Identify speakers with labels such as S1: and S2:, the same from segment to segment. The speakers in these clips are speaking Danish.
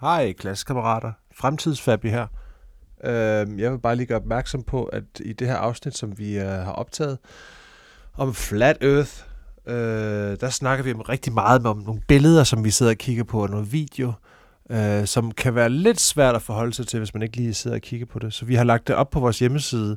S1: Hej klassekammerater, Fremtidsfabi her. Øh, jeg vil bare lige gøre opmærksom på, at i det her afsnit, som vi øh, har optaget om Flat Earth, øh, der snakker vi om rigtig meget om nogle billeder, som vi sidder og kigger på, og noget video, øh, som kan være lidt svært at forholde sig til, hvis man ikke lige sidder og kigger på det. Så vi har lagt det op på vores hjemmeside,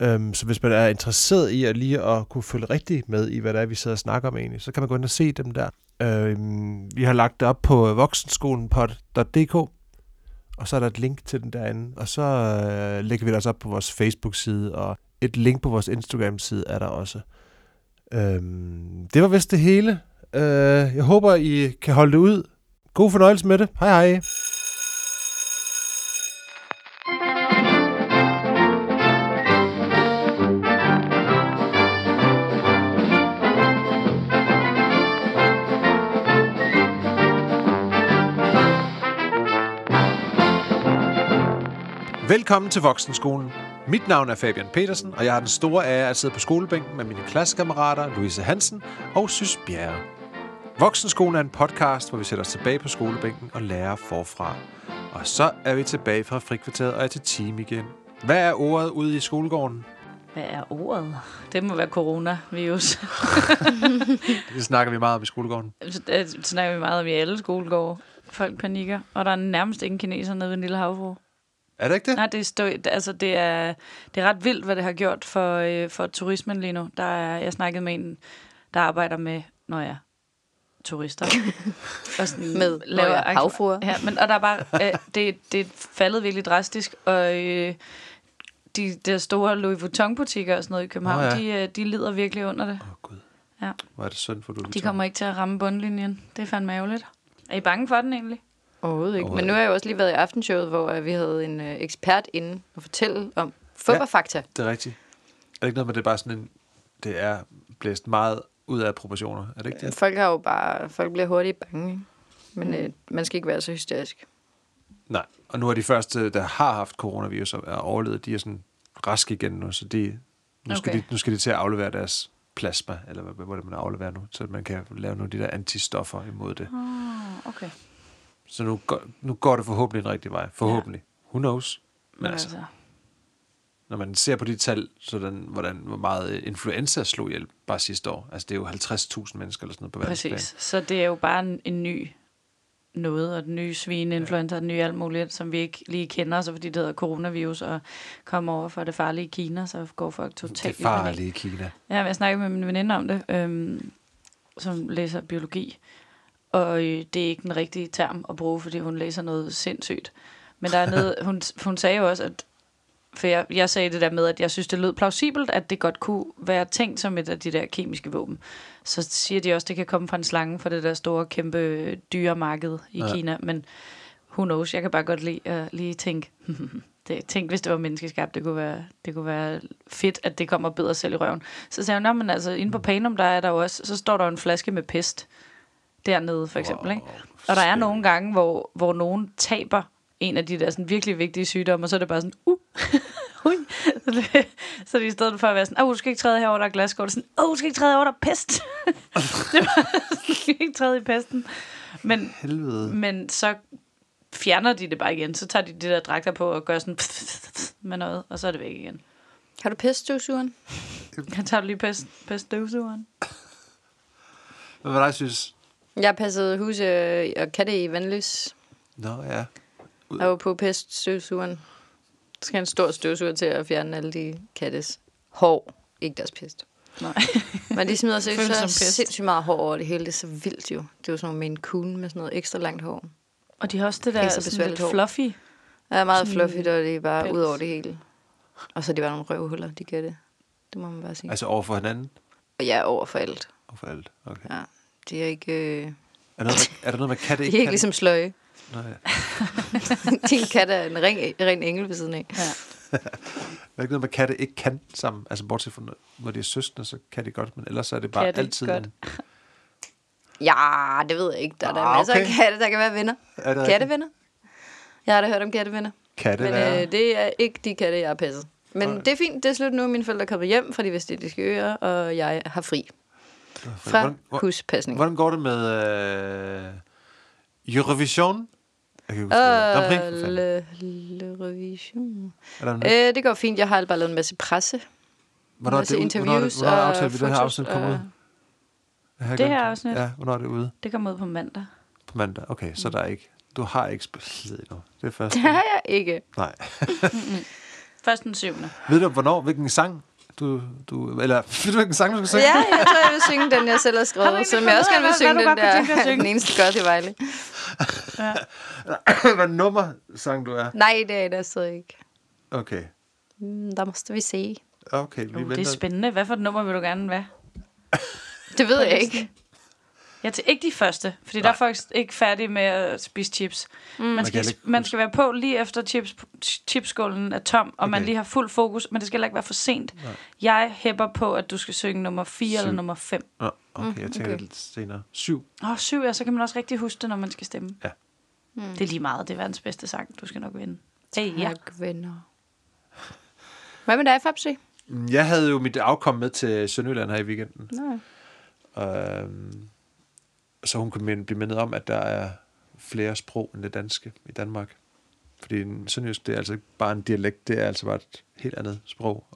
S1: Øhm, så hvis man er interesseret i at lige at kunne følge rigtigt med i, hvad det er, vi sidder og snakker om egentlig, så kan man gå ind og se dem der. Øhm, vi har lagt det op på voksenskolenpod.dk, og så er der et link til den derinde, og så øh, lægger vi det også op på vores Facebook-side, og et link på vores Instagram-side er der også. Øhm, det var vist det hele. Øh, jeg håber, I kan holde det ud. God fornøjelse med det. Hej hej. Velkommen til Voksenskolen. Mit navn er Fabian Petersen, og jeg har den store ære at sidde på skolebænken med mine klassekammerater Louise Hansen og Sys Bjerre. Voksenskolen er en podcast, hvor vi sætter os tilbage på skolebænken og lærer forfra. Og så er vi tilbage fra frikvarteret og er til time igen. Hvad er ordet ude i skolegården?
S2: Hvad er ordet? Det må være coronavirus.
S1: Det snakker vi meget om i skolegården.
S2: Så det Altså, snakker vi meget om i alle skolegårde. Folk panikker, og der er nærmest ingen kineser nede ved den lille havfru.
S1: Er det ikke det?
S2: Nej, det er, stå, altså, det er, det er ret vildt, hvad det har gjort for, øh, for turismen lige nu. Der er, jeg snakkede med en, der arbejder med, når jeg turister. og sådan,
S3: Med nå ja,
S2: arrangementer.
S3: havfruer.
S2: Ja, men, og der er bare, øh, det, det er faldet virkelig drastisk, og øh, de der store Louis Vuitton-butikker og sådan noget i København,
S1: Nå ja.
S2: ja. de, øh, de lider virkelig under det.
S1: Åh oh, gud,
S2: Ja.
S1: hvor er det synd for du.
S2: De kommer ikke til at ramme bundlinjen. Det er fandme ærgerligt. Er I bange for den egentlig?
S3: Overhovedet ikke. Men
S1: Overhovedet
S3: nu har jeg jo også lige været i aftenshowet, hvor øh, vi havde en øh, ekspert inde og fortælle om fodboldfakta. Ja.
S1: Det er rigtigt. Er det ikke noget med, det er bare sådan en... Det er blæst meget ud af proportioner. Er det ikke det?
S3: Folk har jo bare, folk bliver hurtigt bange, ikke? men øh, man skal ikke være så hysterisk.
S1: Nej, og nu er de første, der har haft coronavirus og er overlevet, de er sådan raske igen nu, så de, nu, skal
S2: Okay.
S1: de, nu skal de til at aflevere deres plasma, eller hvad, hvad, hvad det man afleverer nu, så man kan lave nogle af de der antistoffer imod det.
S2: Ah. Okay.
S1: Så nu, går- nu går det forhåbentlig en rigtig vej. Forhåbentlig. Ja. Who knows? Men altså, når man ser på de tal, sådan, hvordan, hvor meget øh, influenza slog ihjel bare sidste år, altså det er jo 50.000 mennesker eller sådan noget på verdensplan.
S2: Præcis. Så det er jo bare en, en ny noget, og den nye svineinfluenza, og den nye alt muligt, som vi ikke lige kender, så fordi det hedder coronavirus, og kommer over fra det farlige Kina, så går folk
S1: Det er
S2: totalt i panik.
S1: farligt i Kina.
S2: Ja, men jeg snakkede med min veninde om det, øhm, som læser biologi. Og øh, det er ikke den rigtige term at bruge, fordi hun læser noget sindssygt. Men der er noget, hun, hun sagde jo også, at for jeg, jeg sagde det der med, at jeg synes, det lød plausibelt, at det godt kunne være tænkt som et af de der kemiske våben. Så siger de også, at det kan komme fra en slange fra det der store, kæmpe dyremarked i
S1: Ja.
S2: ja. Kina. Men who knows, jeg kan bare godt lide at lige tænke, det, tænk hvis det var menneskeskabt, det kunne være, det kunne være fedt, at det kommer bedre selv i røven. Så sagde jeg, "Nå, men altså, inde på Panum, der er der jo også, så står der jo en flaske med pest dernede, for eksempel. Ikke? Og der er nogle gange, hvor, hvor nogen taber en af de der sådan, virkelig vigtige sygdomme, og så er det bare sådan, uh, ui. Så, det, så det er i stedet for at være sådan, åh, oh, du skal ikke træde herover, der er glasgård, sådan, åh, oh, du skal ikke træde herover, der er pest. det var sådan, ikke træde i pesten. Men,
S1: Helvede.
S2: men så fjerner de det bare igen. Så tager de de der dragter på og gør sådan med noget, og så er det væk igen.
S3: Har du peststøvsugeren?
S2: Jeg tager lige pest, pestdøvsugeren.
S1: Hvad var det, jeg synes?
S3: Jeg passede huse øh, og katte i vandløs.
S1: Nå ja.
S3: Jeg var på peststøvsugeren. Så skal en stor støvsuger til at fjerne alle de kattes hår. Ikke deres pest.
S2: Nej.
S3: Men de smider sig
S2: Føles som
S3: så
S2: pest.
S3: sindssygt meget hår over det hele. Det er så vildt jo. Det er jo sådan nogle med en kugle med sådan noget ekstra langt hår.
S2: Og de har også det der
S3: Ikke så
S2: sådan lidt
S3: besværligt hår.
S2: fluffy.
S3: Ja, meget fluffigt, og det er bare
S2: pels.
S3: ud over det hele. Og så er det bare nogle røvhuller, de gør det. Det må man bare sige.
S1: Altså over for hinanden?
S3: Og jeg er over for alt.
S1: Over for alt. Okay.
S3: Ja, de er ikke,
S1: Er
S3: øh,
S1: der noget med, er der noget med katte
S3: de
S1: ikke
S3: er ikke
S1: kan?
S3: ligesom sløje.
S1: Nå, ja.
S3: Din kat er en ren, ren engel ved siden af.
S2: Ja.
S1: Der er ikke noget med katte ikke kan sammen. Altså bortset fra, når- når de er søskende, så kan de godt, men ellers er det bare
S2: Kan de
S1: altid...
S2: godt?
S1: en-
S3: Ja, det ved jeg ikke. Der er der
S1: Ah,
S3: masser af
S1: okay.
S3: katte, der kan være venner.
S1: Er det rigtigt?
S3: Kattevenner. Jeg har da hørt om kattevenner.
S1: Katte,
S3: Men
S1: der er-
S3: øh, det er ikke de katte, jeg har passet. Men det er fint, det er slut nu. Mine forældre er kommet hjem fra de vestindiske øer, og jeg har fri fra
S1: Hvordan- hvor-
S3: huspasning.
S1: Hvordan går det med øh, Eurovision? Jeg kan ikke huske, hvad det hedder. Grand Prix,
S3: Og
S1: for fanden.
S3: le, le revision.
S1: Er der en-
S3: Øh, det går fint. Jeg har bare lavet en masse presse.
S1: Hvornår er det
S3: masse
S1: ude? Hvornår er det-
S3: interviews
S1: hvornår er det
S3: og øh,
S1: aftalt, at det her
S3: fotos
S1: afsnit kommer
S3: og-
S1: ud? Jeg har
S2: Det
S1: glemt
S2: her afsnit.
S1: Ja, hvornår er det ude?
S2: Det kommer ud på mandag.
S1: På mandag. Okay,
S3: Mm.
S1: så der er ikke... Du har ikke spillet endnu. Det er først.
S3: Det har jeg ikke.
S1: Nej.
S2: Først den syvende.
S1: Ved du, hvornår, hhvilken sang du... du eller ved du, hvilken sang du skal synge?
S3: Ja, jeg tror, jeg vil synge den, jeg selv har
S2: Har du
S3: skrevet,
S2: egentlig
S3: som jeg
S2: fundet
S3: også
S2: ud af, hvad-
S3: gerne vil synge
S2: hvad
S3: den
S2: du godt kunne tænke dig at
S3: der.
S2: synge?
S3: Den eneste godt i Vejle.
S1: Hvad nummer sang du er?
S3: Nej, det er der
S2: altså
S3: så ikke.
S1: Okay.
S3: Mm, Der måste vi se.
S1: Okay, vi
S2: Uh,
S1: venter.
S2: det er spændende. Hvad for et nummer vil du gerne være?
S3: Det ved
S2: på
S3: jeg
S2: listen?
S3: ikke.
S2: Jeg til ikke de første, fordi Nej. der er folk ikke færdige med at spise chips. Mm. Man,
S1: kan
S2: skal,
S1: heller ikke
S2: man skal være på lige efter chips, chipskålen er tom, og okay. man
S1: Okay.
S2: lige har fuld fokus, men det skal heller ikke være for sent. Nej. Jeg hæpper på, at du skal synge nummer 4 eller
S1: Syv.
S2: nummer 5.
S1: Nå, okay,
S2: Mm,
S1: jeg tænker
S3: okay.
S1: okay. lidt senere. Syv.
S2: Åh, oh, syv, ja, så kan man også rigtig huske det, når man skal stemme.
S1: Ja.
S2: Mm. Det er lige meget. Det er verdens bedste sang. Du skal nok vinde. Hey, ja.
S3: Tak, venner. Hvad med dig, Fabsi?
S1: Mm, Jeg havde jo mit afkom med til Sønderjylland her i weekenden.
S3: Nå.
S1: Øhm, så hun kunne minde- blive mindet om, at der er flere sprog end det danske i Danmark. Fordi en sønderjysk, det er altså ikke bare en dialekt, det er altså bare et helt andet sprog.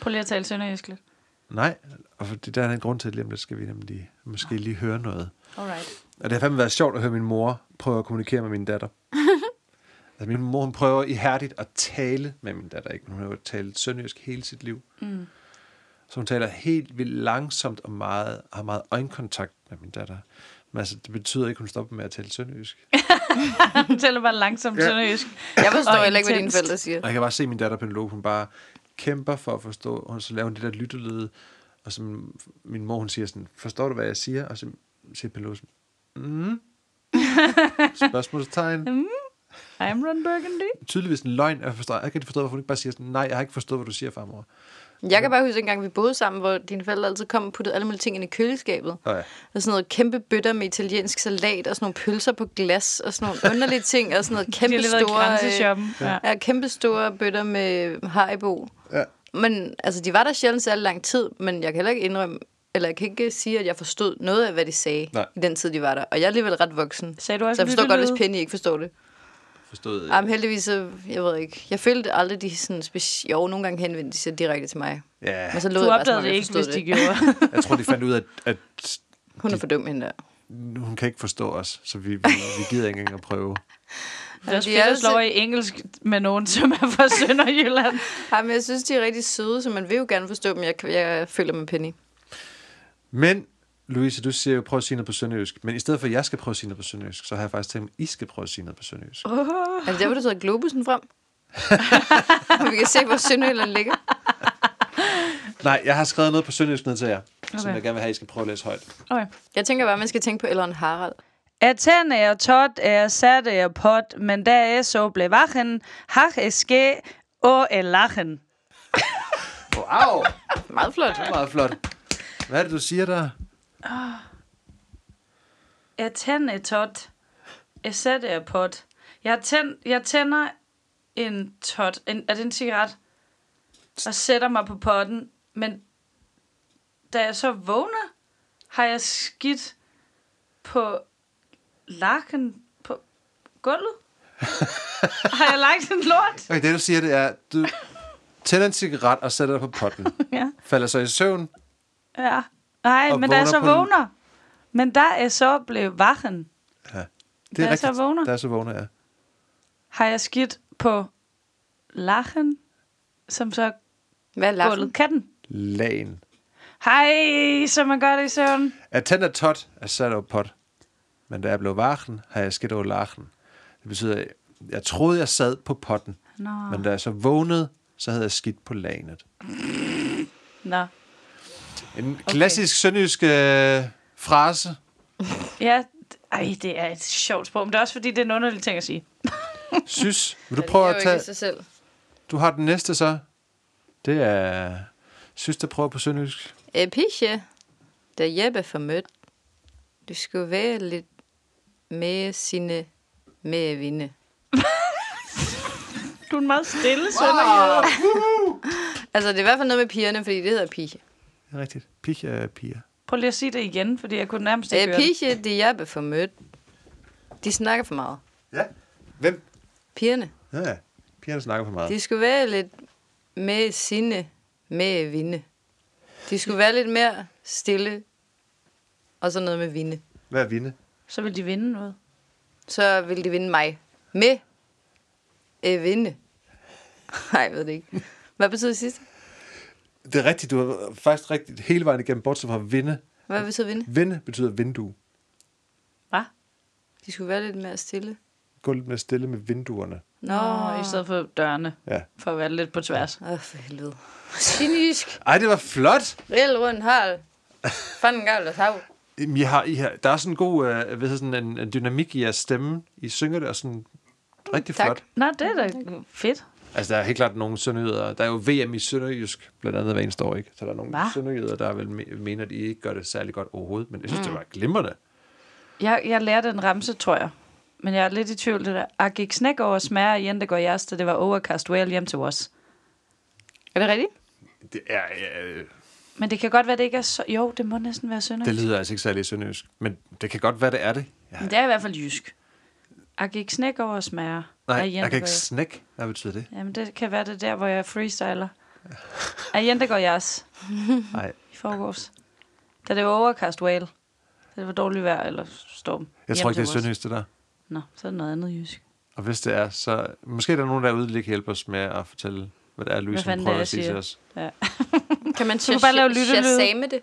S2: Prøv lige at tale sønderjysk lidt.
S1: Nej, og fordi der er en grund til, at lige om lidt skal vi nemlig lige, måske lige høre noget.
S2: Alright.
S1: Og det har fandme været sjovt at høre min mor prøve at kommunikere med min datter. altså, min mor hun prøver ihærdigt at tale med min datter, ikke? Men hun har jo talt sønderjysk hele sit liv. Mm. Så hun taler helt vildt langsomt og meget, har meget øjenkontakt med min datter. Men altså, det betyder ikke, at hun stopper med at tale sønderjysk.
S2: Hun tæller bare langsomt sønderjysk.
S3: Jeg forstår
S2: Og
S3: heller ikke, hvad dine
S2: intenst.
S3: forældre siger.
S1: Og jeg kan bare se min datter Penelope, hun bare kæmper for at forstå, og så laver hun det der lyttelyde, og så min- min mor, hun siger sådan, forstår du, hvad jeg siger? Og så siger Penelope sådan, mm. Spørgsmålstegn.
S2: I'm Ron Burgundy.
S1: tydeligvis en løgn, at jeg forstår. Jeg kan ikke forstå, hvorfor hun ikke bare siger sådan, nej, jeg har ikke forstået, hvad du siger, farmor.
S3: Jeg kan bare huske, en gang vi boede sammen, hvor dine forældre altid kom og puttede alle mulige ting ind i køleskabet.
S1: Nå ja.
S3: Og sådan noget kæmpe bøtter med italiensk salat, og sådan nogle pølser på glas, og sådan nogle underlige ting, og sådan noget
S2: Det
S3: kæmpe
S2: har lige været i
S3: store... øh,
S2: grænseshoppen. Ja.
S3: Ja, kæmpe store bøtter med haribo.
S1: Ja.
S3: Men altså, de var der sjældent særlig lang tid, men jeg kan heller ikke indrømme, eller jeg kan ikke sige, at jeg forstod noget af, hvad de sagde
S1: Nej.
S3: i den tid, de var der. Og jeg er alligevel ret voksen.
S2: Sagde du også
S3: så jeg forstår godt,
S2: lyttelyde?
S3: hvis Penny ikke forstår det.
S1: Forstået.
S3: Jamen heldigvis, så, jeg ved ikke. Jeg følte aldrig, de sådan speci- Jo, nogle gange henvendte de sig direkte til mig.
S1: Ja,
S3: Men så lod
S2: Du
S3: jeg bare, som
S2: opdagede
S3: om
S2: det
S3: jeg
S2: ikke,
S3: forstod
S2: hvis de gjorde.
S1: jeg tror, de fandt ud af, at, at
S3: Hun er for dum, hende der.
S1: hun kan ikke forstå os, så vi, vi, vi gider ikke engang at prøve.
S2: Det er også
S3: de
S2: fedt
S3: er
S2: at slå
S3: så-
S2: over i engelsk med nogen, som er fra Sønderjylland.
S3: Jamen, jeg synes, de er rigtig søde, så man vil jo gerne forstå dem. Jeg, jeg føler med Penny.
S1: Men, Louise, du siger jo, prøv at sige noget på sønderjysk. Men i stedet for, at jeg skal prøve at sige noget på sønderjysk, så har jeg faktisk tænkt mig, at I skal prøve at sige noget på sønderjysk.
S3: Er det der, hvor du tager globusen frem? Og vi kan se, hvor Sønderjylland ligger.
S1: Nej, jeg har skrevet noget på sønderjysk ned til jer, okay. som
S2: Okay.
S1: jeg gerne vil have, at I skal prøve at læse højt.
S2: Okay.
S3: Jeg tænker bare, man skal tænke på Elrond Harald.
S2: Jeg tænder jeg tot, jeg satte jeg pot, men da jeg så blev vachen, hak jeg ske og jeg lachen.
S1: Wow,
S3: Meget flot.
S1: det er meget flot. Hvad er det, du siger der?
S2: Jeg tænder jeg tot, jeg sætter jeg pot. Jeg, tænd, jeg tænder en tot, en, er det en cigaret, og sætter mig på potten, men da jeg så vågner, har jeg skidt på lakken på gulvet. har jeg lagt en lort?
S1: Okay, det du siger, det er, du tænder en cigaret og sætter dig på potten.
S2: Ja.
S1: Falder så i søvn,
S2: Ja. Nej,
S1: Og
S2: men da jeg
S1: vågner
S2: så
S1: på den-
S2: vågner. Men da jeg så blev vachen,
S1: Ja.
S2: Da jeg så vågner.
S1: Der er så vågner, ja.
S2: har jeg skidt på lachen, som så
S3: Hvad er laffen?
S2: gulvet katten.
S1: Lagen.
S2: Hej, som man gør det i søvn.
S1: At tænde er tot, er sat over pot. Men da jeg blev vachen, har jeg skidt over lachen. Det betyder, jeg troede, jeg sad på potten.
S2: Nå.
S1: Men da jeg så vågnede, så havde jeg skidt på lagenet.
S2: Nå.
S1: En okay. klassisk sønderjysk øh, frase.
S2: Ja, d- ej, det er et sjovt sprog, men det er også fordi, det er en underlig ting at sige.
S1: Sys, vil du prøve at tage...
S3: sig selv.
S1: Du har den næste så. Det er... Sys, der prøver på sønderjysk.
S3: Episje, da Øh, Jeppe formødt, du skulle være lidt med sine medvinde.
S2: Du er en meget stille sønderjyde.
S3: Altså, det er i hvert fald noget med pigerne, fordi det hedder pige.
S1: Det er rigtigt. Pig er piger.
S2: Prøv lige at sige det igen,
S3: Øh,
S2: fordi jeg kunne nærmest ikke høre det.
S3: Episje, da Jeppe formødt, de snakker for meget.
S1: Ja. Hvem?
S3: Pigerne,
S1: Ja, ja. Pigerne snakker for meget.
S3: de skulle være lidt med sinde, med vinde. De skulle være lidt mere stille, og så noget med vinde.
S1: Hvad er vinde?
S2: Så vil de vinde noget.
S3: Så ville de vinde mig. Med øh, vinde. Nej, jeg ved det ikke. Hvad betyder det sidste?
S1: Det er rigtigt, du har faktisk rigtigt hele vejen igennem, bortset fra vinde.
S3: Hvad betyder vinde?
S1: Vinde betyder vindue.
S2: Hvad?
S3: De skulle være lidt mere stille.
S1: Gå lidt mere stille med vinduerne.
S3: Nå,
S2: Nå, i stedet for dørene.
S1: Ja.
S2: For at være lidt på tværs.
S3: Åh, for helvede. Kynisk.
S1: Ej, det var flot!
S3: Real rundt hold. Fanden gav det hav.
S1: Jamen, I har, I har, der er sådan en god øh, hvad hedder sådan en, en dynamik i jeres stemme. I synger det, og sådan rigtig
S3: tak.
S1: flot.
S2: Nå, det er da fedt.
S1: Altså, der er helt klart nogle sønderjyder. Der er jo VM i Sønderjysk, blandt andet hver eneste år, ikke? Så der er nogle
S2: Hva?
S1: sønderjyder, der vel me- mener, at I ikke gør det særlig godt overhovedet. Men jeg synes, mm. det var glimrende.
S2: Jeg, jeg lærte en ramse, tror jeg. Men jeg er lidt i tvivl. Det der. Jeg gik snæk over smære igen, det går jeres, da det var overcast well hjem til os.
S3: Er det rigtigt?
S1: Det, er, øh,
S2: Men det kan godt være, det ikke er så... Jo, det må næsten være sønder.
S1: det lyder altså ikke særlig sønderjysk. Men det kan godt være, det er det. Ja.
S2: Men det er i hvert fald jysk. Jeg gik snæk over smære.
S1: Nej,
S2: igen,
S1: jeg kan
S2: det går
S1: ikke
S2: jeres.
S1: snække. Hvad betyder det?
S2: Jamen, det kan være det er der, hvor jeg freestyler. Agenda går jeres
S1: Nej.
S2: i forgårs. Da det var overcast whale. Da det var dårligt vejr eller storm.
S1: Jeg
S2: Hjem
S1: tror ikke,
S2: til
S1: det er
S2: vores.
S1: sønderjysk, det der.
S2: Nå, så er det noget andet jysk.
S1: Og hvis det er, så... Måske er der nogen derude, der kan hjælpe os med at fortælle, hvad det er, Louise
S2: fanden
S1: hun
S2: det
S1: prøver
S2: er,
S1: at sige
S2: siger.
S1: til os.
S3: Kan man
S2: Du kan bare lave lyttelyd.
S3: shazame det?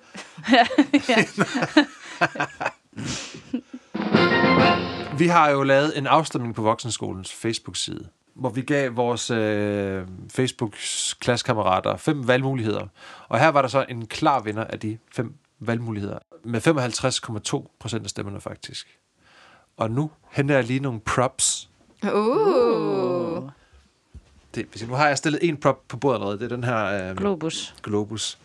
S1: Vi har jo lavet en afstemning på Voksenskolens Facebook-side, hvor vi gav vores øh, Facebook-klassekammerater fem valgmuligheder. Og her var der så en klar vinder af de fem valgmuligheder, med 55,2 procent af stemmerne faktisk. Og nu henter jeg lige nogle props.
S3: Uh.
S1: Det, hvis- nu har jeg stillet en prop på bordet allerede, det er den her øh,
S2: Globus.
S1: globus.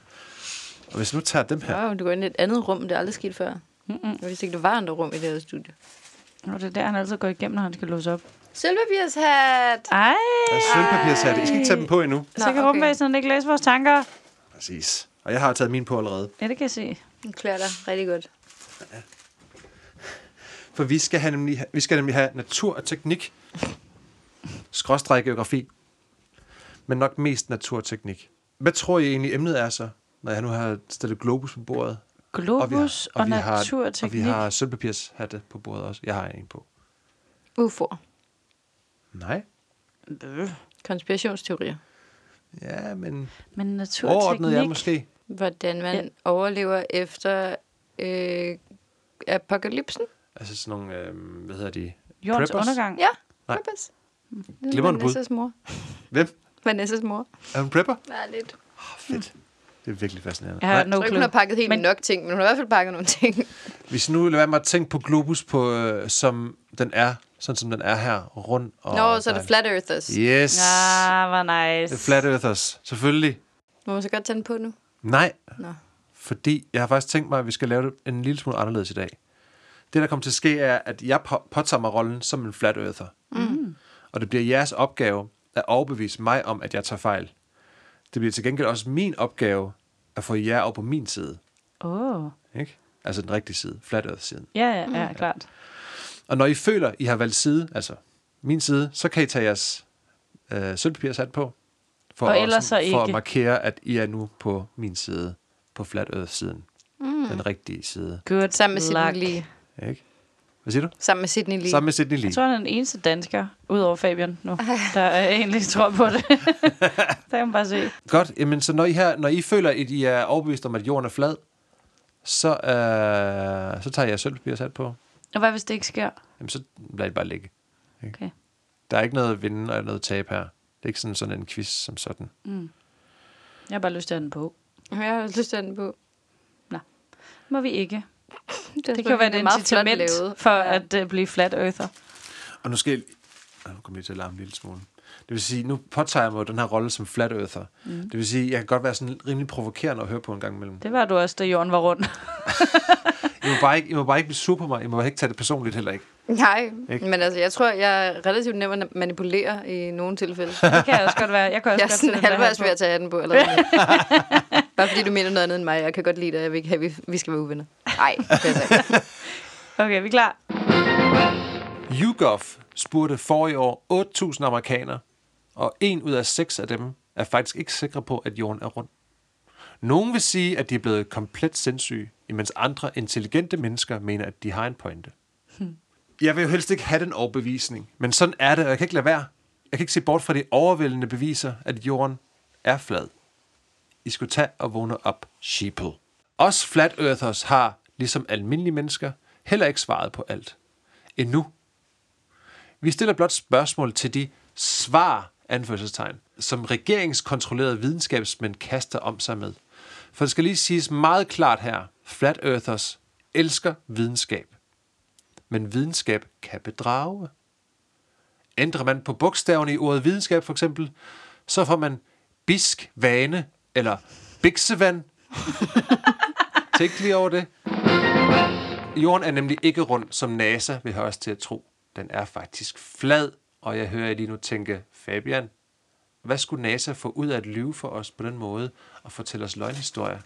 S1: Og hvis jeg nu tager dem her,
S3: Wow, du går ind i et andet rum, det er aldrig sket før. Mm-mm. Jeg vidste ikke, der var andre rum i det her studie.
S2: Nå, det er der, han altid går igennem, når han skal låse op.
S3: Sølvpapirshat!
S2: Ej!
S1: der er sølvpapirshatte. I skal ikke tage dem på endnu.
S2: Så
S3: Nå,
S2: kan
S3: okay.
S2: rumvæsenet ikke læse vores tanker.
S1: Præcis. Og jeg har taget min på allerede.
S2: Ja, det kan jeg se.
S3: Den klæder dig rigtig godt.
S1: For vi skal, have nemlig, vi skal nemlig have natur og teknik. Skråstrej geografi. Men nok mest natur og teknik. Hvad tror I egentlig emnet er så, når jeg nu har stillet globus på bordet?
S2: Globus og, og, og
S1: Har, og vi
S2: naturteknik.
S1: har sølvpapirshatte på bordet også. Jeg har en på.
S3: UFO'er.
S1: Nej.
S2: Øh.
S3: Konspirationsteorier.
S1: Ja, men
S2: Men naturteknik...
S1: overordnet jeg måske.
S3: Hvordan man
S2: Ja.
S3: ja. overlever efter øh, apokalypsen.
S1: Altså sådan nogle, øh, hvad hedder de?
S2: Jordens
S1: Preppers?
S2: undergang.
S3: Ja,
S1: Nej. Mm.
S3: preppers.
S1: Glimrende bud.
S3: Vanessas mor.
S1: Hvem?
S3: Vanessas mor.
S1: Er hun prepper?
S3: Ja, lidt.
S1: Oh, fedt. Det er virkelig fascinerende.
S2: Jeg har
S3: Jeg
S2: no
S3: tror ikke, hun
S2: clue.
S3: har pakket helt
S2: Men-
S3: men... nok ting, men hun har i hvert fald pakket nogle ting.
S1: Hvis nu lader være med at tænke på globus, på, øh, som den er, sådan som den er her, rund og...
S3: Nå, så er det
S1: dejlig.
S3: flat earthers. Yeah.
S1: Yes.
S2: Ah, hvor nice.
S1: The Flat Earthers, selvfølgelig.
S3: Må man så godt tage den på nu?
S1: Nej,
S3: Nå.
S1: fordi jeg har faktisk tænkt mig, at vi skal lave det en lille smule anderledes i dag. Det, der kommer til at ske, er, at jeg på- påtager mig rollen som en Flat Earther. Mm. Og det bliver jeres opgave at overbevise mig om, at jeg tager fejl. Det bliver til gengæld også min opgave at få jer over på min side.
S2: Åh. Oh.
S1: Ikke? Altså den rigtige side, Flat Earth-siden.
S2: Ja, ja, ja,
S3: Mm.
S2: klart.
S1: Og når I føler, I har valgt side, altså min side, så kan I tage jeres øh, sølvpapir sat på. For,
S2: Og
S1: at-
S2: ellers så
S1: for at
S2: ikke.
S1: markere, at I er nu på min side. På flat earth-siden. Mm. Den rigtige side.
S2: Good
S3: Sammen med Sidney
S2: luck.
S3: Lee.
S1: Ikke? Hvad siger du?
S3: Sammen med Sidney Lee.
S1: Sammen med Sydney
S2: Jeg
S1: Lee.
S2: tror, han er den eneste dansker, udover Fabian nu, der øh, egentlig tror på det. det kan man bare se.
S1: Godt. Jamen, så når I, her, når I føler, at I er overbevist om, at jorden er flad, så, øh, så tager jeg sølvpapir sat på.
S2: Og hvad hvis det ikke sker?
S1: Jamen, så lader I bare ligge.
S2: Okay.
S1: Der er ikke noget at vinde og noget tab her. Det er ikke sådan, sådan en quiz som sådan.
S2: Jeg har bare lyst til at have den på.
S3: Jeg har lyst til at have den på.
S2: Må vi ikke.
S3: Det,
S2: Det kan jo være et incitament for at øh, blive flat earther.
S1: Og nu skal jeg... Ah, Nu kommer jeg til at larme en lille smule. Det vil sige, nu påtager jeg mig jo den her rolle som flat earther. Mm. Det vil sige, jeg kan godt være sådan rimelig provokerende at høre på en gang imellem.
S2: Det var du også, da jorden var rundt.
S1: I må bare ikke, I må bare ikke blive sur på mig. I må bare ikke tage det personligt heller ikke.
S3: Nej,
S1: Ikke?
S3: ikke? men altså, jeg tror, jeg er relativt nem at manipulere i nogle tilfælde.
S2: Det kan jeg også godt være. Jeg kan også
S3: Jeg er
S2: godt
S3: sådan
S2: tage den der
S3: halvvejs
S2: her
S3: ved
S2: på.
S3: at tage den på allerede. nu. Bare fordi du mener noget andet end mig. Jeg kan godt lide dig. Jeg vil ikke have, at vi- vi skal være uvenner. Nej, det er
S2: Okay, vi er klar.
S1: YouGov spurgte for i år 8.000 amerikanere, og en ud af seks af dem er faktisk ikke sikre på, at jorden er rund. Nogen vil sige, at de er blevet komplet sindssyge, imens andre intelligente mennesker mener, at de har en pointe. Hmm. Jeg vil jo helst ikke have den overbevisning, men sådan er det, og jeg kan ikke lade være. Jeg kan ikke se bort fra de overvældende beviser, at jorden er flad. I skulle tage og vågne op, sheeple. Os flat earthers har, ligesom almindelige mennesker, heller ikke svaret på alt. Endnu. Vi stiller blot spørgsmål til de svar, anførselstegn, som regeringskontrollerede videnskabsmænd kaster om sig med. For det skal lige siges meget klart her, flat earthers elsker videnskab. Men videnskab kan bedrage. Ændrer man på bogstaverne i ordet videnskab for eksempel, så får man bisk vane eller biksevan. Tænk lige over det. Jorden er nemlig ikke rund, som NASA vil have os til at tro. Den er faktisk flad, og jeg hører jer lige nu tænke, Fabian, hvad skulle NASA få ud af at lyve for os på den måde og fortælle os løgnhistorier?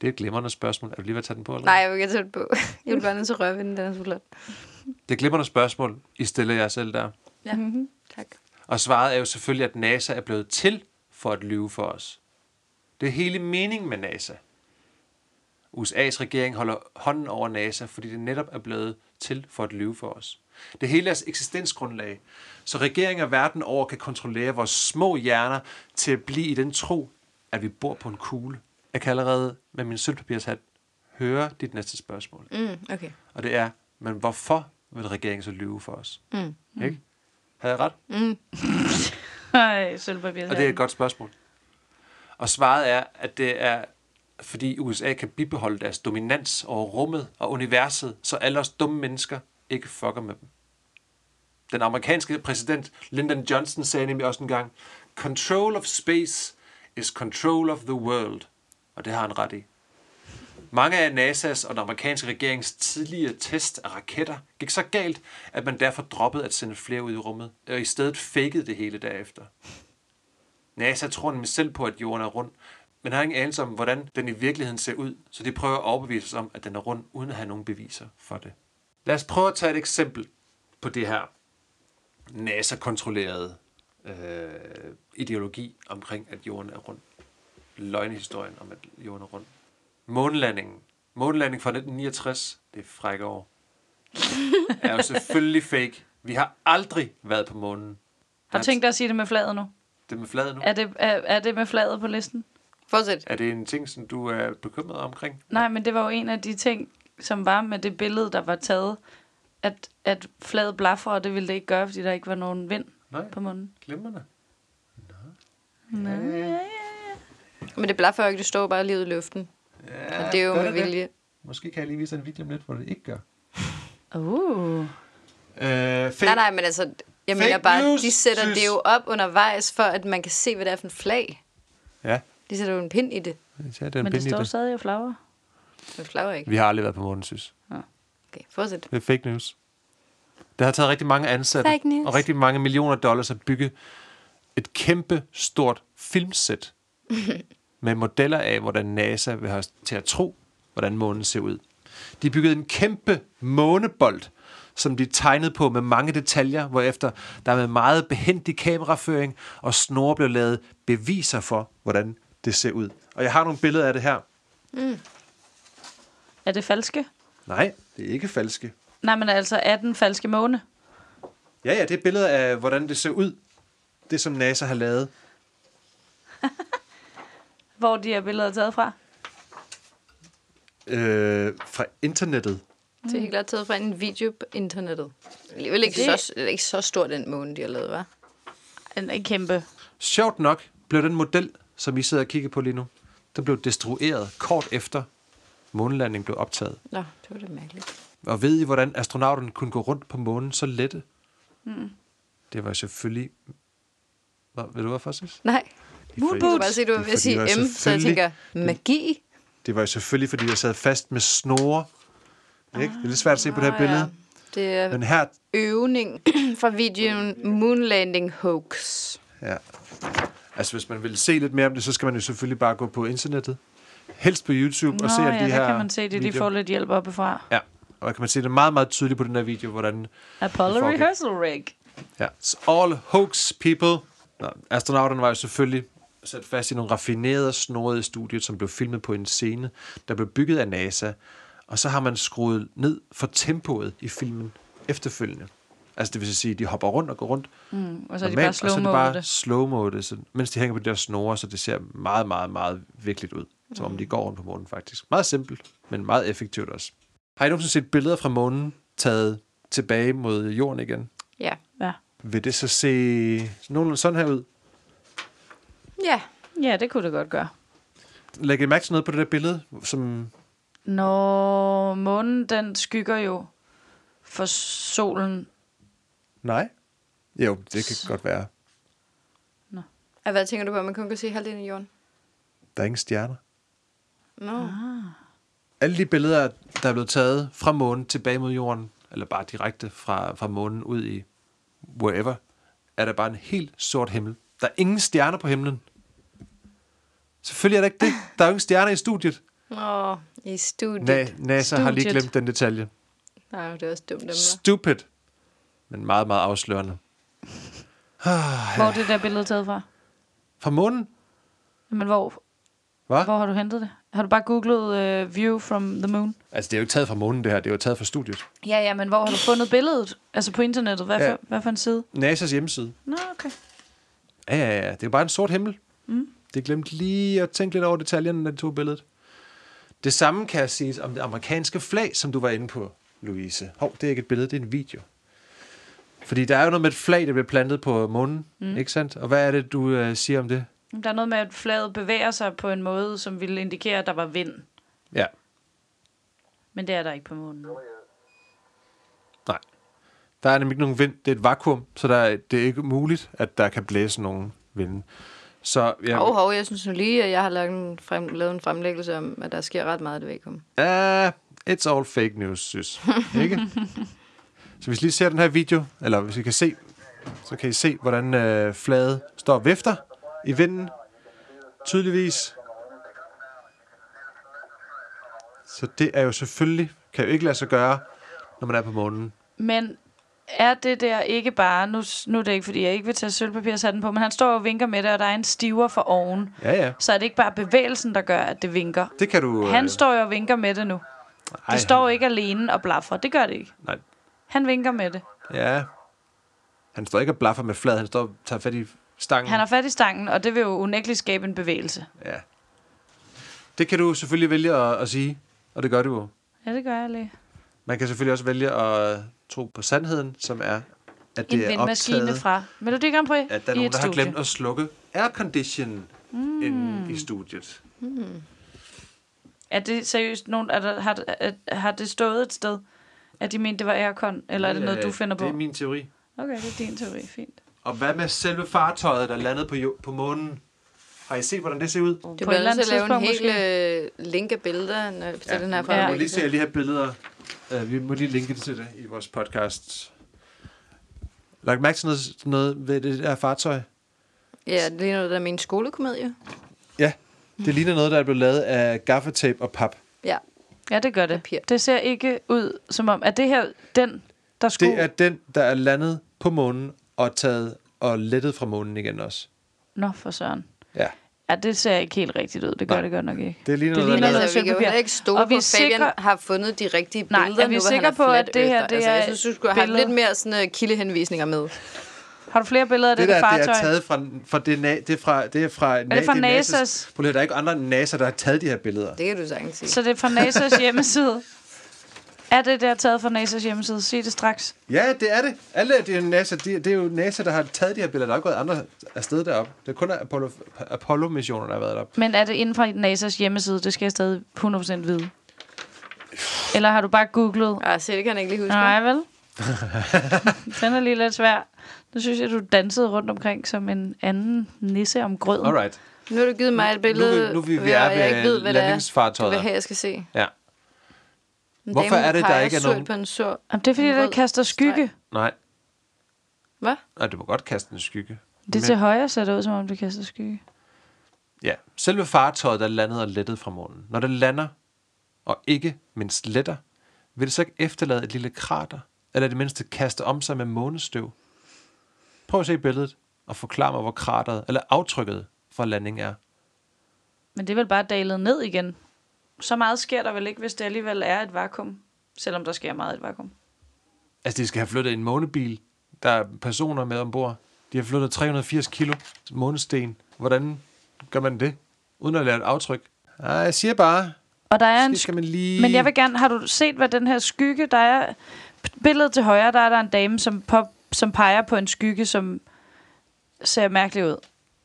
S1: Det er et glimrende spørgsmål. Er du lige ved at tage den på? Eller?
S3: Nej, jeg vil ikke tage det på. Jeg vil bare nødt til at røre ved den, den er så flot.
S1: Det er et glimrende spørgsmål, I stiller jer selv der.
S3: Ja, mm-hmm. tak.
S1: Og svaret er jo selvfølgelig, at NASA er blevet til for at lyve for os. Det er hele meningen med NASA. USA's regering holder hånden over NASA, fordi det netop er blevet til for at lyve for os. Det er hele deres eksistensgrundlag, så regeringer verden over kan kontrollere vores små hjerner til at blive i den tro, at vi bor på en kugle. Jeg kan allerede med min sølvpapirshat høre dit næste spørgsmål.
S3: Mm, okay.
S1: Og det er, men hvorfor vil regeringen så lyve for os?
S3: Mm.
S1: Ikke? Havde jeg ret?
S2: Ej, sølvpapir.
S1: Og det er et godt spørgsmål. Og svaret er, at det er, fordi USA kan bibeholde deres dominans over rummet og universet, så alle os dumme mennesker ikke fucker med dem. Den amerikanske præsident Lyndon Johnson sagde nemlig også engang, Control of space is control of the world. Og det har han ret i. Mange af NASA's og den amerikanske regerings tidligere test af raketter gik så galt, at man derfor droppede at sende flere ud i rummet, og i stedet fakede det hele derefter. NASA tror nemlig selv på, at jorden er rund, men har ingen anelse om, hvordan den i virkeligheden ser ud, så de prøver at overbevise os om, at den er rund, uden at have nogen beviser for det. Lad os prøve at tage et eksempel på det her NASA-kontrollerede øh, ideologi omkring, at jorden er rund. Løgnehistorien om, at jorden er rund. Månelandingen. Månelandingen fra 1969, det er frække år, er jo selvfølgelig fake. Vi har aldrig været på månen.
S2: Har du tænkt dig at sige det med fladet nu?
S1: Det med fladet nu.
S2: Er det, er, er det med fladet på listen?
S3: Fortsæt.
S1: Er det en ting, som du er bekymret omkring?
S2: Nej, men det var jo en af de ting, som var med det billede, der var taget, at, at fladet blaffer, og det ville det ikke gøre, fordi der ikke var nogen vind
S1: Nej,
S2: på munden.
S1: glimrende.
S3: Men det blaffer jo ikke, det står bare lige ud i luften.
S1: Ja,
S3: Og det er jo
S1: gør
S3: med
S1: det?
S3: vilje.
S1: Måske kan jeg lige vise en video om lidt, hvor det ikke gør.
S2: Uh.
S1: Øh, fake,
S3: Nej, nej, men altså, jeg
S1: Fake
S3: mener bare,
S1: news,
S3: de sætter
S1: synes-
S3: det jo op undervejs, for at man kan se, hvad det er for en flag.
S1: Ja,
S3: De sætter jo en pind i det.
S1: så er det en
S2: Men det står stadig og flagrer.
S3: Men flager ikke.
S1: Vi har aldrig været på månen, synes.
S3: Okay, fortsæt.
S1: Det er fake news. Det har taget rigtig mange ansatte
S3: Fake news.
S1: og rigtig mange millioner dollars at bygge et kæmpe stort filmsæt med modeller af, hvordan NASA vil have os til at tro, hvordan månen ser ud. De byggede en kæmpe månebold, som de tegnede på med mange detaljer, hvorefter der med meget behendig kameraføring og snore blev lavet beviser for, hvordan det ser ud. Og jeg har nogle billeder af det her.
S2: Er det falske?
S1: Nej, det er ikke falske.
S2: Nej, men altså, er den falske måne?
S1: Ja, ja, det er billeder af, hvordan det ser ud. Det, som NASA har lavet.
S2: Hvor de her billeder er taget fra?
S1: Øh, fra internettet.
S3: Det er helt klart taget fra en video på internettet. Alligevel ikke,
S2: Det-
S3: det... så, det er ikke så stor den måne, de har lavet, hva'?
S2: En, en kæmpe.
S1: Sjovt nok blev den model, som I sidder og kigger på lige nu, den blev destrueret kort efter månelandingen blev optaget.
S3: Nå, det var da mærkeligt.
S1: Og ved I, hvordan astronauterne kunne gå rundt på månen så lette? Mm. Det var selvfølgelig... Hvad, ved du hvorfor, Sis?
S3: Nej,
S2: Moonboot.
S3: jeg kunne bare se, du var
S1: Det er
S3: ved at sige
S1: fordi,
S3: M,
S1: der er
S3: så jeg
S1: selvfølgelig-
S3: tænker, magi?
S1: Det var jo selvfølgelig, fordi jeg sad fast med snore. Ikke? Det er lidt svært at se på det her billede.
S3: Det er
S1: Men her...
S3: øvning fra videoen Moonlanding Hoax.
S1: Ja. Altså, hvis man vil se lidt mere om det, så skal man jo selvfølgelig bare gå på internettet. Helst på YouTube
S2: Nå,
S1: og se alle
S2: ja,
S1: de
S2: der
S1: her
S2: kan man se det. De
S1: videoer.
S2: får lidt hjælp oppefra.
S1: Ja. Og der kan man se det meget, meget tydeligt på den her video, hvordan...
S2: Apollo
S1: Fuck it.
S2: Rehearsal Rig.
S1: Ja, it's all hoax, people. Nå, astronauterne var jo selvfølgelig sat fast i nogle raffinerede og snorede studier, som blev filmet på en scene, der blev bygget af NASA. Og så har man skruet ned for tempoet i filmen efterfølgende. Altså det vil sige, at de hopper rundt og går rundt. Mm,
S2: og så er de bare
S1: og så er
S2: slow-mo
S1: det bare
S2: det.
S1: slow det, så, mens de hænger på de der snore, så det ser meget, meget, meget virkeligt ud. Som om de
S2: Mm.
S1: går rundt på månen faktisk. Meget simpelt, men meget effektivt også. Har I nogensinde set billeder fra månen taget tilbage mod jorden igen?
S3: Ja.
S2: Ja.
S1: Vil det så se nogenlunde sådan her ud?
S3: Ja.
S2: ja, det kunne det godt gøre.
S1: Læg I mærke til noget på det der billede, som...
S2: Når månen, den skygger jo for solen.
S1: Nej? Jo, det kan godt være.
S3: Og hvad tænker du på, at man kun kan se halvdelen af jorden?
S1: Der er ingen stjerner.
S3: Nå.
S2: Ah.
S3: No.
S1: Alle de billeder, der er blevet taget fra månen tilbage mod jorden, eller bare direkte fra, fra månen ud i wherever, er der bare en helt sort himmel. Der er ingen stjerner på himlen. Selvfølgelig er der ikke det. Der er jo ingen stjerner i studiet.
S3: Nå, i studiet.
S1: Na- NASA har lige
S2: Studiet.
S1: glemt den detalje.
S3: Nej, det er også dumt af mig.
S1: Stupid. Men meget, meget afslørende.
S2: Hvor
S1: Ah.
S2: er det der billede taget fra?
S1: Fra månen?
S2: Men hvor,
S1: Hvad?
S2: hvor har du hentet det? Har du bare googlet uh, View from the Moon?
S1: Altså, det er jo ikke taget fra månen, det her. Det er jo taget fra studiet.
S2: Ja, ja, men hvor har du fundet billedet? Altså på internettet? Hvad for,
S1: Ja.
S2: ja. hvad for en side?
S1: NASA's hjemmeside.
S2: Nå, okay.
S1: Ja, ja, ja. Det er jo bare en sort himmel. Mm. Det glemte lige at tænke lidt over detaljerne, når de tog billedet. Det samme kan jeg sige om det amerikanske flag, som du var inde på, Louise. Hov, det er ikke et billede, det er en video. Fordi der er jo noget med et flag, der bliver plantet på månen, mm. ikke sandt? Og hvad er det, du øh, siger om det?
S2: Der er noget med, at flaget bevæger sig på en måde, som ville indikere, at der var vind.
S1: Ja,
S2: Men det er der ikke på månen.
S1: nej. Der er nemlig ikke nogen vind. Det er et vakuum, så der er, det er ikke muligt, at der kan blæse nogen vinde. Så ja,
S3: Hov, hov, jeg synes nu lige, at jeg har lavet en, frem, lavet en fremlæggelse om, at der sker ret meget, det ved ikke
S1: Uh, it's all fake news, synes Ikke? så hvis I lige ser den her video, eller hvis I kan se, så kan I se, hvordan øh, flaget står og vifter i vinden. Tydeligvis. Så det er jo selvfølgelig, kan jo ikke lade sig gøre, når man er på månen.
S2: Men er det der ikke bare, nu, nu er det ikke, fordi jeg ikke vil tage sølvpapir og sætte den på, men han står og vinker med det, og der er en stiver for oven.
S1: Ja, ja.
S2: Så er det ikke bare bevægelsen, der gør, at det vinker.
S1: Det kan du... øh,
S2: Han står jo og vinker med det nu. Det
S1: ej,
S2: står ikke alene og blaffer. Det gør det ikke.
S1: Nej,
S2: Han vinker med det.
S1: ja. Han står ikke og blaffer med fladet, han står og tager fat i stangen.
S2: Han har fat i stangen, og det vil jo unægteligt skabe en bevægelse.
S1: Ja. Det kan du selvfølgelig vælge at, at sige, og det gør du jo.
S2: Ja, det gør jeg lige.
S1: Man kan selvfølgelig også vælge at tro på sandheden, som er, at
S2: En
S1: det er
S2: vindmaskine
S1: optaget,
S2: fra Melodi Grand Prix
S1: at der er
S2: i
S1: nogen,
S2: et
S1: der har
S2: studie.
S1: glemt at slukke aircondition mm. inde i studiet.
S2: Er det seriøst nogen, er der, har, er, har det stået et sted, at de mente, det var aircon? Eller er det noget, du finder på?
S1: Øh, Det er min teori.
S2: Okay, det er din teori. Fint.
S1: Og hvad med selve fartøjet, der landede på, jo- på månen? Har I set, hvordan det ser ud?
S2: På
S3: Du bliver nødt til at lave en hel
S2: måske.
S3: øh, link af billeder når, til ja. den her
S1: ja. Vi må lige
S3: fremlæggelse.
S1: se alle de her billeder. Uh, vi må lige linke det til det i vores podcast. Lagt mærke til noget, noget ved det der fartøj?
S3: Ja, det ligner noget, der er min skolekomedie.
S1: Ja, det ligner noget, der er blevet lavet af gaffatape og pap.
S3: Ja.
S2: Ja, det gør det.
S3: Papir.
S2: Det ser ikke ud som om, at det her den, der skulle...
S1: Det er den, der er landet på månen og taget og lettet fra månen igen også.
S2: Nå, for søren.
S1: Ja.
S2: Ja, det ser ikke helt rigtigt ud. Det gør
S1: Nej.
S2: Nej. det godt nok ikke.
S1: Det ligner
S2: Det
S1: noget, der
S2: ligner
S1: er
S2: noget
S1: lavet.
S3: Altså, vi kan jo
S2: sølvpapir.
S3: heller ikke stole
S2: Og vi
S3: på,
S2: er
S3: at Fabian
S2: sikre-
S3: har fundet de rigtige
S2: Nej,
S3: billeder
S2: er vi
S3: nu, hvor
S2: sikre
S3: han
S2: på,
S3: er
S2: at
S3: flat
S2: det her,
S3: earther.
S2: det
S3: altså, jeg
S2: er-
S3: synes, du skulle have haft
S2: billeder-
S3: lidt mere sådan, uh, kildehenvisninger med.
S2: Har du flere billeder af det,
S1: Det
S2: det
S1: der, det
S2: fartøj?
S1: er taget fra, fra det, na- det er fra, det er fra, na-
S2: det fra
S1: er NASA's?
S2: NASA's?
S1: Prøv lige, der er ikke andre end NASA, der har taget de her billeder.
S3: Det kan du sagtens sige.
S2: Så det er fra NASA's hjemmeside. Er det der taget fra NASA's hjemmeside? Sig det straks.
S1: Ja, det er det. Alle det er NASA, de, det er jo NASA, der har taget de her billeder. Der er ikke gået andre afsted derop. Det er kun Apollo, Apollo-missioner, der har været derop.
S2: Men er det inden fra NASA's hjemmeside? Det skal jeg stadig 100% vide. Eller har du bare googlet?
S3: Ah, se, det kan jeg ikke lige huske.
S2: Nej, vel? Den er lige lidt svær. Nu synes jeg, du dansede rundt omkring som en anden nisse om grøden.
S1: Alright.
S3: Nu har du givet mig et billede,
S1: nu vi- vi
S3: hvor
S1: er ved
S3: jeg ikke ved, hvad det er, du
S1: landingsfartøjet.
S3: vil have, jeg skal se. En
S1: Ja.
S3: dame,
S1: Hvorfor er det, der
S3: peger
S1: ikke er
S3: surt
S1: nogen...
S3: På en sur...
S2: Jamen, det er fordi,
S3: En
S2: der
S3: rød
S2: kaster skygge.
S1: Nej,
S3: Hvad?
S1: Nej, du må godt kaste en skygge.
S2: Det til højre ser det ud, som om det kaster skygge.
S1: Ja, selve fartøjet, der landede og lettede fra månen. Når det lander, og ikke mindst letter, vil det så ikke efterlade et lille krater, eller i det mindste kaste om sig med månestøv? Prøv at se billedet og forklar mig, hvor krateret eller aftrykket fra landingen er.
S2: Men det er vel bare dalet ned igen. Så meget sker der vel ikke, hvis det alligevel er et vakuum. Selvom der sker meget i et vakuum.
S1: Altså, de skal have flyttet en månebil. Der er personer med ombord. De har flyttet 380 kilo månesten. Hvordan gør man det? Uden at lave et aftryk. Ej, jeg siger bare,
S2: Og der er en
S1: det skal man lige...
S2: Men jeg vil gerne, har du set, hvad den her skygge, der er... Billedet til højre, der er der en dame, som, pop, som peger på en skygge, som ser mærkelig ud.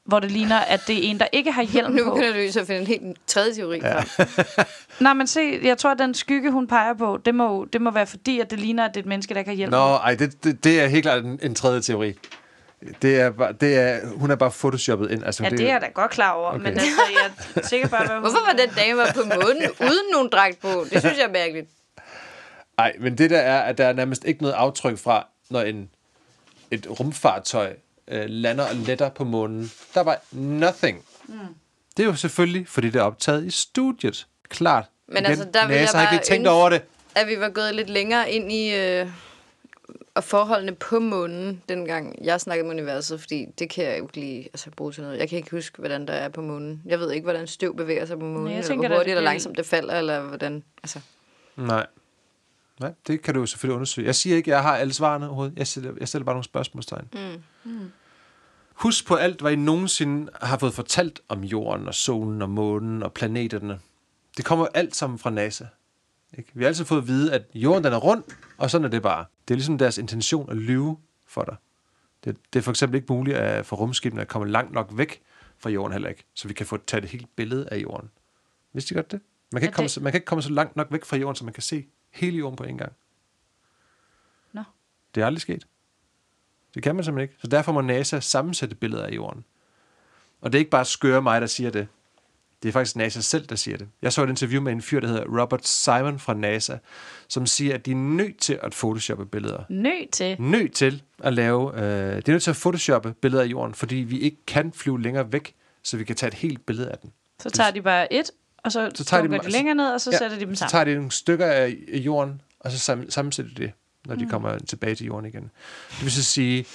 S2: Hvor det ligner, at det er en, der ikke har hjelm
S3: Nu
S2: på.
S3: begynder du så at finde en helt tredje teori ja. frem.
S2: Nej, men se, jeg tror, at den skygge, hun peger på, det må, det må være fordi, at det ligner, at det er et menneske, der ikke har hjelm på.
S1: Nå, ej, det, det, det er helt klart en, en tredje teori. Det er, bare- det er, hun er bare photoshoppet ind. Altså,
S2: Ja, det er jeg da godt klar over, okay. men
S1: Okay.
S2: altså, jeg er sikker på, hvad hun...
S3: Hvorfor var den dame var på månen uden nogen dragt på? Det synes jeg er mærkeligt.
S1: Ej, men det der er, at der er nærmest ikke noget aftryk fra, når en, et rumfartøj øh, lander og letter på månen. Der var nothing. Mm. Det er jo selvfølgelig, fordi det er optaget i studiet. Klart.
S3: Men altså, der vil jeg
S1: NASA har
S3: bare
S1: ikke lige tænkt
S3: ønske-
S1: over det.
S3: At vi var gået lidt længere ind i øh, og forholdene på månen, dengang jeg snakkede om universet, fordi det kan jeg jo ikke lige altså, bruge til noget. Jeg kan ikke huske, hvordan der er på månen. Jeg ved ikke, hvordan støv bevæger sig på månen,
S2: jeg
S3: Nej, eller
S2: tænker da,
S3: hvor
S2: det
S3: hurtigt eller
S2: bliver-
S3: langsomt det falder, eller hvordan... Altså,
S1: Nej. Nej, det kan du jo selvfølgelig undersøge. Jeg siger ikke, at jeg har alle svarene overhovedet. Jeg stiller, jeg stiller bare nogle spørgsmålstegn. Mm. Mm. Husk på alt, hvad I nogensinde har fået fortalt om jorden og solen og månen og planeterne. Det kommer alt sammen fra NASA. Ikke? Vi har altid fået at vide, at jorden den er rund, og sådan er det bare. Det er ligesom deres intention at lyve for dig. Det, det er for eksempel ikke muligt at for rumskibene at komme langt nok væk fra jorden heller ikke, så vi kan få tage et helt billede af jorden. Vidste I godt det? Man kan,
S2: Ja,
S1: ikke komme,
S2: det-
S1: så, man kan ikke komme så langt nok væk fra jorden, så man kan se hele jorden på en gang.
S2: Nå.
S1: Det er aldrig sket. Det kan man simpelthen ikke. Så derfor må NASA sammensætte billeder af jorden. Og det er ikke bare skøre mig, der siger det. Det er faktisk NASA selv, der siger det. Jeg så et interview med en fyr, der hedder Robert Simon fra NASA, som siger, at de er nødt til at photoshoppe billeder
S2: Nø til.
S1: nødt til at lave, øh, det er nødt til at photoshoppe billeder af jorden, fordi vi ikke kan flyve længere væk, så vi kan tage et helt billede af den.
S2: Så tager de bare et, og så,
S1: Så tager de
S2: dunker
S1: dem-
S2: de, længere ned, og så ja, sætter de dem
S1: så
S2: sammen.
S1: tager de nogle stykker af af jorden, og så sam, sammensætter de det, når de
S2: Mm.
S1: kommer tilbage til jorden igen. Det vil så sige,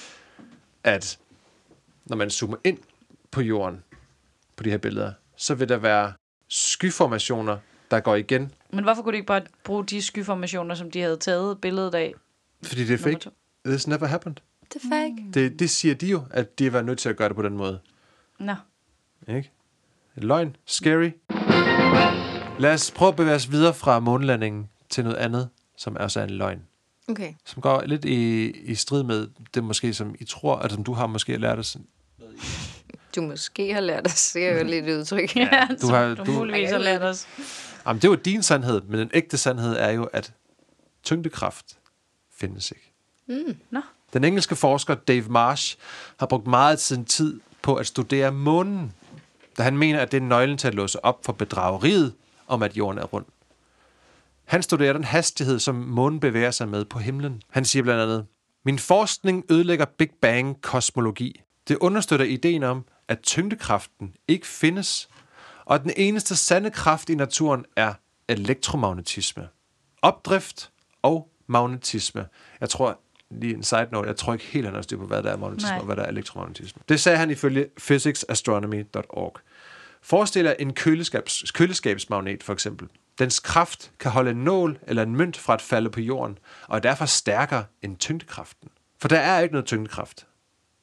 S1: at når man zoomer ind på jorden, på de her billeder, så vil der være skyformationer, der går igen,
S2: Men hvorfor kunne de ikke bare bruge de skyformationer, som de havde taget billedet af?
S1: fordi det er
S2: Nummer Mm.
S1: fake. This never happened.
S3: det er fake.
S1: Det, det siger de jo, at de var nødt til at gøre det på den måde.
S2: Nå.
S1: Ikke? Løgn. Scary. Lad os prøve at bevæge os videre fra månelandingen til noget andet, som også er en løgn.
S3: Okay.
S1: Som går lidt i, i strid med det måske, som I tror, og som du har måske lært os.
S3: Du måske har lært at se jo lidt udtryk.
S2: Ja,
S1: du har-
S2: du,
S1: du-
S2: du muligvis har lært os.
S1: Jamen, det var din sandhed, men den ægte sandhed er jo, at tyngdekraft findes ikke.
S2: Nå.
S1: Den engelske forsker Dave Marsh har brugt meget af sin tid på at studere månen, da han mener, at det er nøglen til at låse op for bedrageriet om, at jorden er rund. Han studerer den hastighed, som månen bevæger sig med på himlen. Han siger blandt andet, Min forskning ødelægger Big Bang-kosmologi. Det understøtter ideen om, at tyngdekraften ikke findes, og at den eneste sande kraft i naturen er elektromagnetisme. Opdrift og magnetisme. Jeg tror, lige en side note, jeg tror ikke helt, han har styr på, hvad der er magnetisme
S2: Nej.
S1: og hvad der er elektromagnetisme. Det sagde han ifølge physicsastronomy.org. Forestil dig en køleskabs, køleskabsmagnet for eksempel. Dens kraft kan holde en nål eller en mønt fra at falde på jorden, og er derfor stærkere end tyngdekraften. For der er ikke noget tyngdekraft.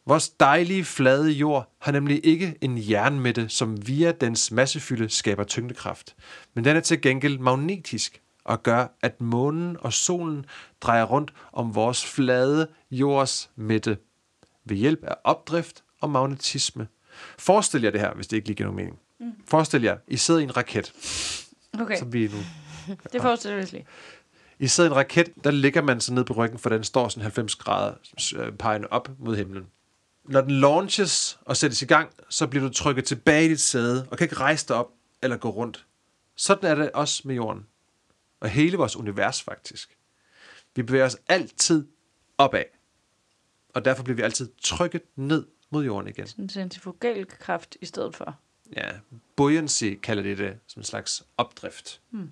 S1: Vores dejlige, flade jord har nemlig ikke en jernmætte, som via dens massefylde skaber tyngdekraft. Men den er til gengæld magnetisk og gør, at månen og solen drejer rundt om vores flade jords midte ved hjælp af opdrift og magnetisme. Forestil jer det her, hvis det ikke lige giver nogen mening. Mm. Forestil jer, I sidder i en raket,
S2: Okay,
S1: som vi nu.
S2: det forestiller jeg lige.
S1: I sidder i en raket, der ligger man så ned på ryggen, for den står sådan 90 grader øh, pegende op mod himlen. Når den launches og sættes i gang, så bliver du trykket tilbage i dit sæde, og kan ikke rejse dig op eller gå rundt. Sådan er det også med jorden. Og hele vores univers faktisk. Vi bevæger os altid opad. Og derfor bliver vi altid trykket ned mod jorden igen.
S2: En centrifugal kraft i stedet for.
S1: Ja, buoyancy kalder de det, som en slags opdrift. Hmm.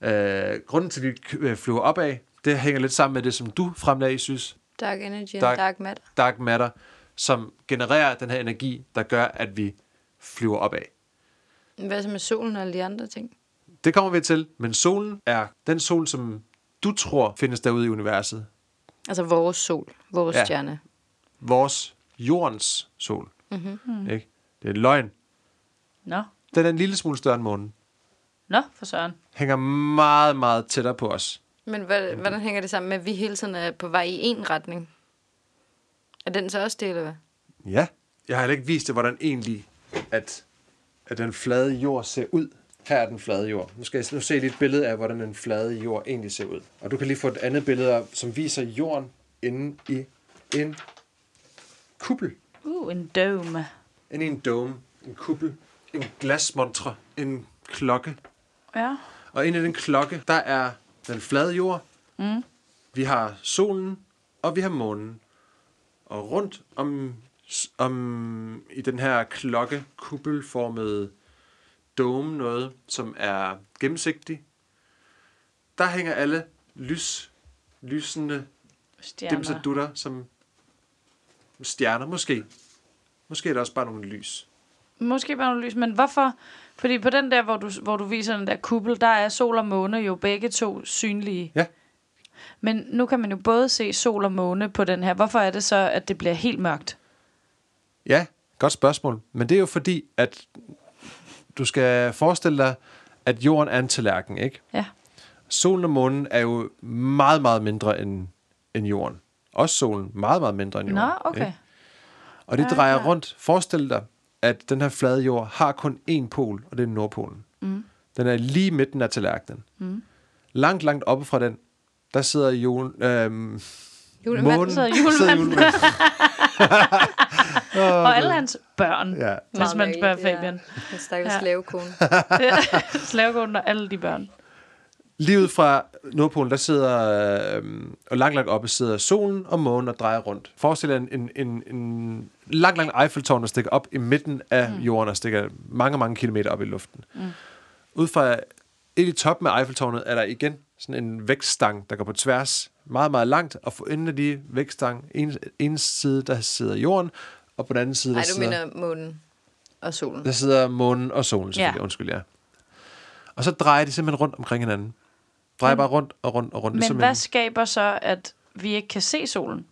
S1: Øh, grunden til, at vi k- øh, flyver opad, det hænger lidt sammen med det, som du fremlagde, synes,
S3: Dark energy
S1: Dark-
S3: dark. and dark matter.
S1: dark matter, som genererer den her energi, der gør, at vi flyver opad.
S3: Hvad så med solen og alle de andre ting?
S1: Det kommer vi til, men solen er den sol, som du tror findes derude i universet.
S3: Altså vores sol, vores
S1: Ja.
S3: ja. stjerne.
S1: Vores jordens sol. Mm-hmm. Ikke? Det er en løgn.
S2: Nå,
S1: Den er en lille smule større end månen.
S2: nå for søren.
S1: Hænger meget, meget tættere på os.
S3: Men hvad, hvordan hænger det sammen med, at vi hele tiden er på vej i én retning? Er den så også det, eller hvad?
S1: Ja. Jeg har heller ikke vist dig, hvordan egentlig, at, at den flade jord ser ud. Her er den flade jord. Nu skal jeg nu se lige et billede af, hvordan den flade jord egentlig ser ud. Og du kan lige få et andet billede, op, som viser jorden inde i en kuppel.
S2: Uh, en dome.
S1: Inde i en dome, en kuppel, en glasmontre, en klokke.
S2: Ja.
S1: Og inde i den klokke, der er den flade jord.
S2: Mm.
S1: Vi har solen, og vi har månen. Og rundt om, om i den her klokke, kuppelformede dome noget, som er gennemsigtig, der hænger alle lys, lysende
S2: Stjerner.
S1: dimsedutter som stjerner, måske. Måske er der også bare nogle lys.
S2: Måske bare noget lys, men hvorfor? Fordi på den der, hvor du, hvor du viser den der kuppel, der er sol og måne jo begge to synlige.
S1: Ja.
S2: Men nu kan man jo både se sol og måne på den her. Hvorfor er det så, at det bliver helt mørkt?
S1: Ja, godt spørgsmål. Men det er jo fordi, at du skal forestille dig, at jorden er en tallerken, ikke?
S2: Ja.
S1: Solen og månen er jo meget, meget mindre end, end jorden. Også solen, meget, meget mindre end jorden.
S2: Nå, okay.
S1: Ikke? Og det
S2: Ja,
S1: drejer
S2: ja.
S1: rundt. Forestil dig, at den her flade jord har kun én pol, og det er Nordpolen. Mm. Den er lige midten af tallerkenen. Mm. Langt, langt oppe fra den, der sidder jorden... Øhm,
S3: Julemanden
S1: månen-
S2: sidder julemanden.
S1: sidder julemanden.
S2: Og alle hans børn, ja.
S1: Ja.
S2: hvis man spørger Fabian.
S3: Den stakkels
S2: Ja.
S3: ja. slavekone.
S2: Slavegården og alle de børn.
S1: Lige ud fra Nordpolen, der sidder, øh, og langt, langt oppe sidder solen og månen og drejer rundt. Forestil dig en, en, en, en lang, lang Eiffeltårn, der stikker op i midten af mm. jorden og stikker mange, mange kilometer op i luften. Mm. Ud fra et i toppen af Eiffeltårnet er der igen sådan en vækststang, der går på tværs meget, meget langt, og for enden af de vækststang, en, en side, der sidder jorden, og på den anden side, der,
S3: Nej, du
S1: sidder,
S3: mener månen og solen.
S1: der sidder månen og solen, selvfølgelig.
S2: Ja.
S1: Ja. Undskyld, ja. Og så drejer de simpelthen rundt omkring hinanden. Drejer bare rundt og rundt og rundt.
S2: Mm. Men
S1: ligesom
S2: hvad
S1: en-
S2: skaber så, at vi ikke kan se solen?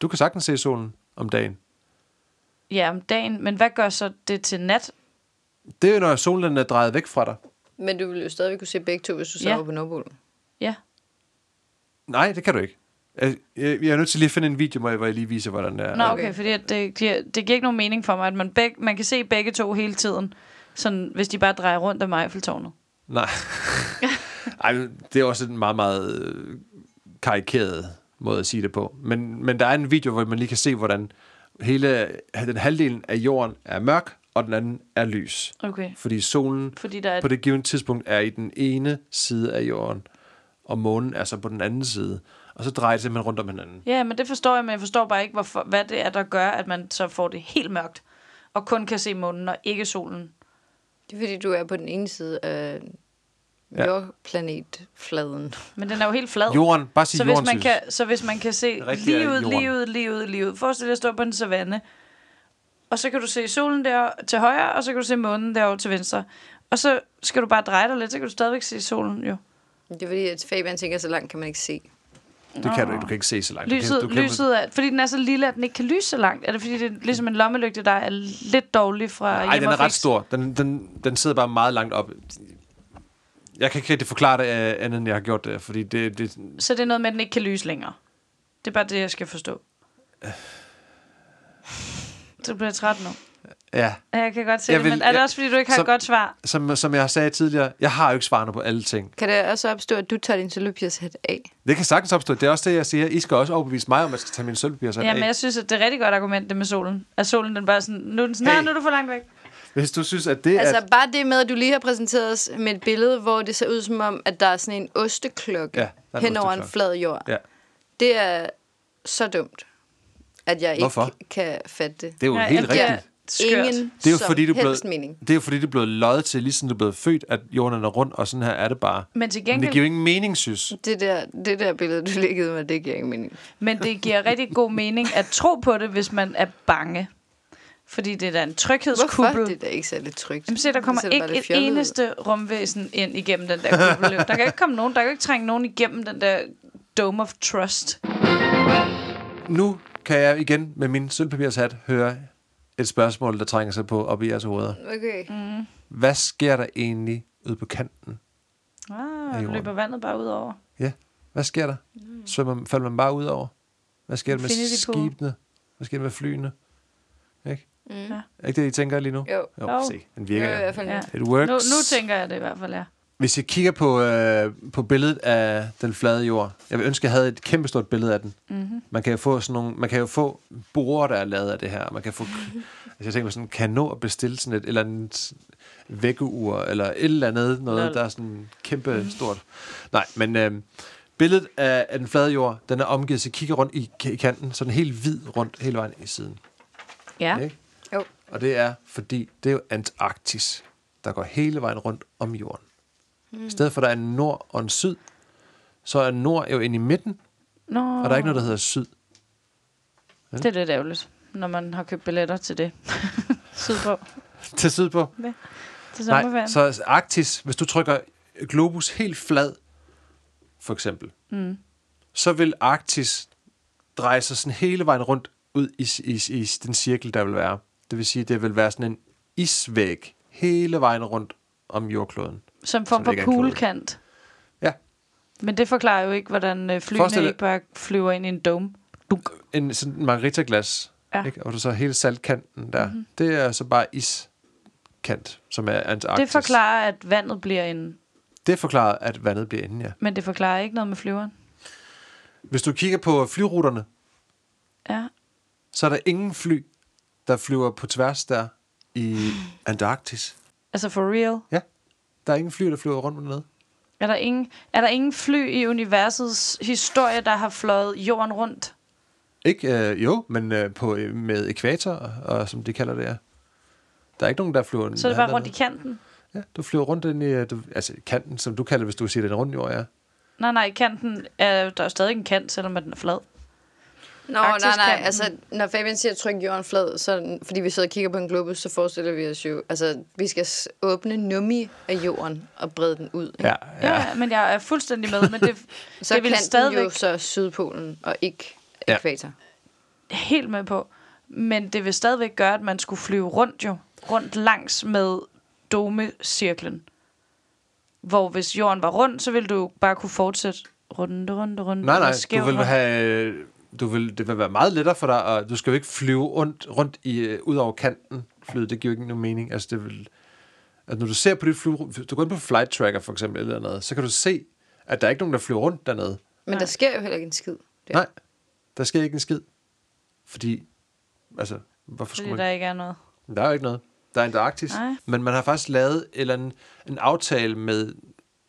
S1: Du kan sagtens se solen om dagen.
S2: Ja, om dagen. Men hvad gør så det til nat?
S1: Det er jo, når solen den er drejet væk fra dig.
S3: Men du ville jo stadig kunne se begge to, hvis du så
S2: Ja.
S3: ja. var på Nordpolen.
S2: Ja.
S1: Nej, det kan du ikke. Jeg, jeg jeg er nødt til lige at finde en video, hvor jeg- hvor jeg lige viser, hvordan det er.
S2: Nå, okay,
S3: Okay.
S2: okay fordi at det, giver, det giver ikke nogen mening for mig, at man, beg, man kan se begge to hele tiden, sådan, hvis de bare drejer rundt om Eiffeltårnet.
S1: Nej. Ej, men det er også en meget, meget øh, karikeret måde at sige det på. Men, men der er en video, hvor man lige kan se, hvordan hele den halvdelen af jorden er mørk, og den anden er lys.
S2: Okay.
S1: Fordi solen
S2: Fordi der er...
S1: på det givende tidspunkt er i den ene side af jorden, og månen er så på den anden side. Og så drejer det simpelthen rundt om hinanden.
S2: Ja, men det forstår jeg, men jeg forstår bare ikke, hvorfor, hvad det er, der gør, at man så får det helt mørkt, og kun kan se månen og ikke solen.
S3: Det er fordi, du er på den ene side af
S1: Ja.
S3: ja. jordplanetfladen.
S2: Men den er jo helt flad.
S1: Jorden, bare sig
S2: så,
S1: jorden,
S2: hvis man
S1: synes.
S2: kan, så hvis man kan se
S1: Rigtig er
S2: lige ud,
S1: jorden.
S2: lige ud, lige ud, lige ud. Forestil dig at stå på en savanne, og så kan du se solen der til højre, og så kan du se månen derovre til venstre. Og så skal du bare dreje dig lidt, så kan du stadigvæk se solen jo.
S3: Det er fordi, at Fabian tænker, så langt kan man ikke se.
S1: Det kan du ikke. Du kan ikke se så langt.
S2: Lyset,
S1: du kan, du kan,
S2: lyset er, fordi den er så lille, at den ikke kan lyse så langt. Er det fordi, det er ligesom en lommelygte, der er lidt dårlig fra
S1: Ej, den er ret
S2: hjemmefix?
S1: stor. Den, den, den sidder bare meget langt op. Jeg kan ikke rigtig forklare det øh, andet, end jeg har gjort det, fordi det, det
S2: Så det er noget med, at den ikke kan lyse længere. Det er bare det, jeg skal forstå.
S1: Øh.
S2: Så bliver jeg træt nu.
S1: ja,
S2: Ja, Jeg kan godt se
S1: Jeg
S2: det,
S1: vil-
S2: men er det
S1: jeg-
S2: også, fordi du ikke har
S1: så-
S2: et godt svar?
S1: som, som jeg sagde tidligere, jeg har jo ikke svarene på alle ting.
S3: Kan det også opstå, at du tager din sølvpapirshat af?
S1: Det kan sagtens opstå. Det er også det, jeg siger. I skal også overbevise mig om, at jeg skal tage min sølvpapir
S2: Ja, men
S1: af.
S2: jeg synes, at det er et rigtig godt argument, det med solen. At solen, den bare sådan, nu er den sådan,
S1: Hey.
S2: hey. nu er du for langt væk.
S1: Hvis du synes, at det er...
S3: Altså bare det med, at du lige har præsenteret os med et billede, hvor det ser ud som om, at der er sådan en osteklokke
S1: Ja, der
S3: ja,
S1: er en
S3: hen over en
S1: osteklokke.
S3: flad jord.
S1: Ja,
S3: Det er så dumt, at jeg ikke
S1: Hvorfor?
S3: kan fatte det.
S1: det er jo
S2: Ja,
S1: helt
S2: at det er-
S1: rigtigt.
S2: Skørt.
S3: ingen
S1: Det er jo
S3: som
S1: fordi, du er
S3: helst
S1: blevet,
S3: mening.
S1: det er jo fordi, du er blevet løjet til, lige siden du er blevet født, at jorden er rundt, og sådan her er det bare.
S2: Men til
S1: Men det
S2: gengæld-
S1: giver jo ingen mening, synes.
S3: Det der, det der billede, du liggede med, det giver ingen mening.
S2: Men det giver rigtig god mening at tro på det, hvis man er bange. Fordi det er da en
S3: Hvorfor?
S2: tryghedskubbel.
S3: Det er da ikke særlig trygt.
S2: Jamen se, der
S3: Det
S2: kommer
S3: ser da
S2: ikke
S3: bare lidt
S2: et
S3: fjollet ud.
S2: eneste rumvæsen ind igennem den der kuppel. der kan ikke komme nogen, der kan ikke trænge nogen igennem den der dome of trust.
S1: Nu kan jeg igen med min sølvpapirshat høre et spørgsmål, der trænger sig på op i jeres hoveder.
S3: Okay. Mm.
S1: Hvad sker der egentlig ude på kanten?
S2: Ah,
S1: jorden.
S2: løber vandet bare ud over.
S1: Ja, hvad sker der? Svømmer, man- falder man bare ud over? Hvad sker der med
S2: Mm. Infinity pool.
S1: skibene? Hvad sker der med flyene? Ikke? Mm.
S2: Ja.
S1: Er ikke det, I tænker lige nu?
S3: Jo.
S1: jo
S2: Jo.
S1: se, den virker.
S3: Jo, i hvert fald
S2: Ja.
S3: ja.
S1: It works.
S2: Nu, nu tænker jeg det i hvert fald, ja.
S1: Hvis jeg kigger på, øh, på billedet af den flade jord, jeg vil ønske, jeg havde et kæmpestort billede af den.
S2: Mhm.
S1: Mm-hmm. Man kan jo få sådan nogle, man kan jo få borer, der er lavet af det her. Man kan få, altså jeg tænker på sådan, kan jeg nå at bestille sådan et eller andet vækkeur, eller et eller andet, noget,
S2: Lol.
S1: der er sådan kæmpe stort. Nej, men øh, billedet af, af den flade jord, den er omgivet, så jeg kigger rundt i, i kanten, sådan helt hvid rundt hele vejen i siden.
S2: Ja,
S1: Ikke?
S3: Jo.
S1: Og det er, fordi det er jo Antarktis, der går hele vejen rundt om jorden. Mm. I stedet for, at der er en nord og en syd, så er nord jo inde i midten,
S2: Nå,
S1: og der er ikke noget, der hedder syd.
S2: det er lidt ærgerligt, når man har købt billetter til det. Sydpå.
S1: Til syd på.
S2: Ja. Til
S1: Nej,
S2: sommerferien. Så...
S1: så Arktis, hvis du trykker globus helt flad, for eksempel, mm. så vil Arktis dreje sig sådan hele vejen rundt ud i, i, i den cirkel, der vil være. Det vil sige, det vil være sådan en isvæg hele vejen rundt om jordkloden.
S2: Som form
S1: det
S2: for
S1: ikke er en klode.
S2: kuglekant.
S1: Ja,
S2: Men det forklarer jo ikke, hvordan øh, flyene
S1: Forestil dig-
S2: ikke bare flyver ind i en dome. Duk.
S1: en sådan en margaritaglas,
S2: Ja. Mhm.
S1: ja. ikke? og du så hele saltkanten der. Mm-hmm. Det er så bare iskant, som er Antarktis.
S2: Det forklarer, at vandet bliver en...
S1: det forklarer, at vandet bliver inde, ja.
S2: Men det forklarer ikke noget med flyveren.
S1: Hvis du kigger på flyruterne,
S2: Ja.
S1: så er der ingen fly, der flyver på tværs der i Antarktis.
S2: Altså for real.
S1: Ja, der er ingen fly, der flyver rundt med ned.
S2: Er der, ingen, er der ingen fly i universets historie, der har fløjet jorden rundt?
S1: Ikke, øh, jo, men øh, på, øh, med ekvator, og som de kalder det, ja. Der er ikke nogen, der flyver
S2: Så er det bare rundt i
S1: i...
S2: kanten?
S1: Ja, du flyver rundt ind i, øh, du, altså kanten, som du kalder, hvis du siger, den runde jord, ja.
S2: Nej, nej, kanten er, der er jo stadig en kant, selvom at den er flad.
S3: Nå, nej, nej.
S2: Arktiskanten.
S3: Altså, når Fabian siger, tryk jorden flad, så, fordi vi sidder og kigger på en globus, så forestiller vi os jo, altså, vi skal s- åbne nummi af jorden og brede den ud. ikke?
S1: Ja,
S2: Ja, ja men jeg er fuldstændig med, men det, det
S3: Så det
S2: vil
S3: kan
S2: stadigvæk
S3: den jo så sydpolen og ikke
S1: Ja.
S3: ekvator.
S2: helt med på. Men det vil stadigvæk gøre, at man skulle flyve rundt jo. Rundt langs med domecirklen. Hvor hvis jorden var rund, så ville du jo bare kunne fortsætte runde, runde, runde.
S1: Nej, nej,
S2: eller skævt
S1: du vil
S2: rundt.
S1: have... øh, Du vil, det vil være meget lettere for dig, og du skal jo ikke flyve rundt, rundt i, øh, ud over kanten. Flyet, det giver jo ikke nogen mening. Altså, det vil, altså, når du ser på dit fly, du går ind på flight tracker for eksempel, eller noget, så kan du se, at der er ikke nogen, der flyver rundt dernede.
S3: Men der sker jo heller ikke en skid.
S1: Ja. Nej, der sker ikke en skid. Fordi, altså, hvorfor
S2: Fordi
S1: skulle
S2: der
S1: man...
S2: ikke er noget.
S1: Der er jo ikke noget. Der er Antarktis.
S2: Nej.
S1: Men man har faktisk lavet en, eller anden, en aftale med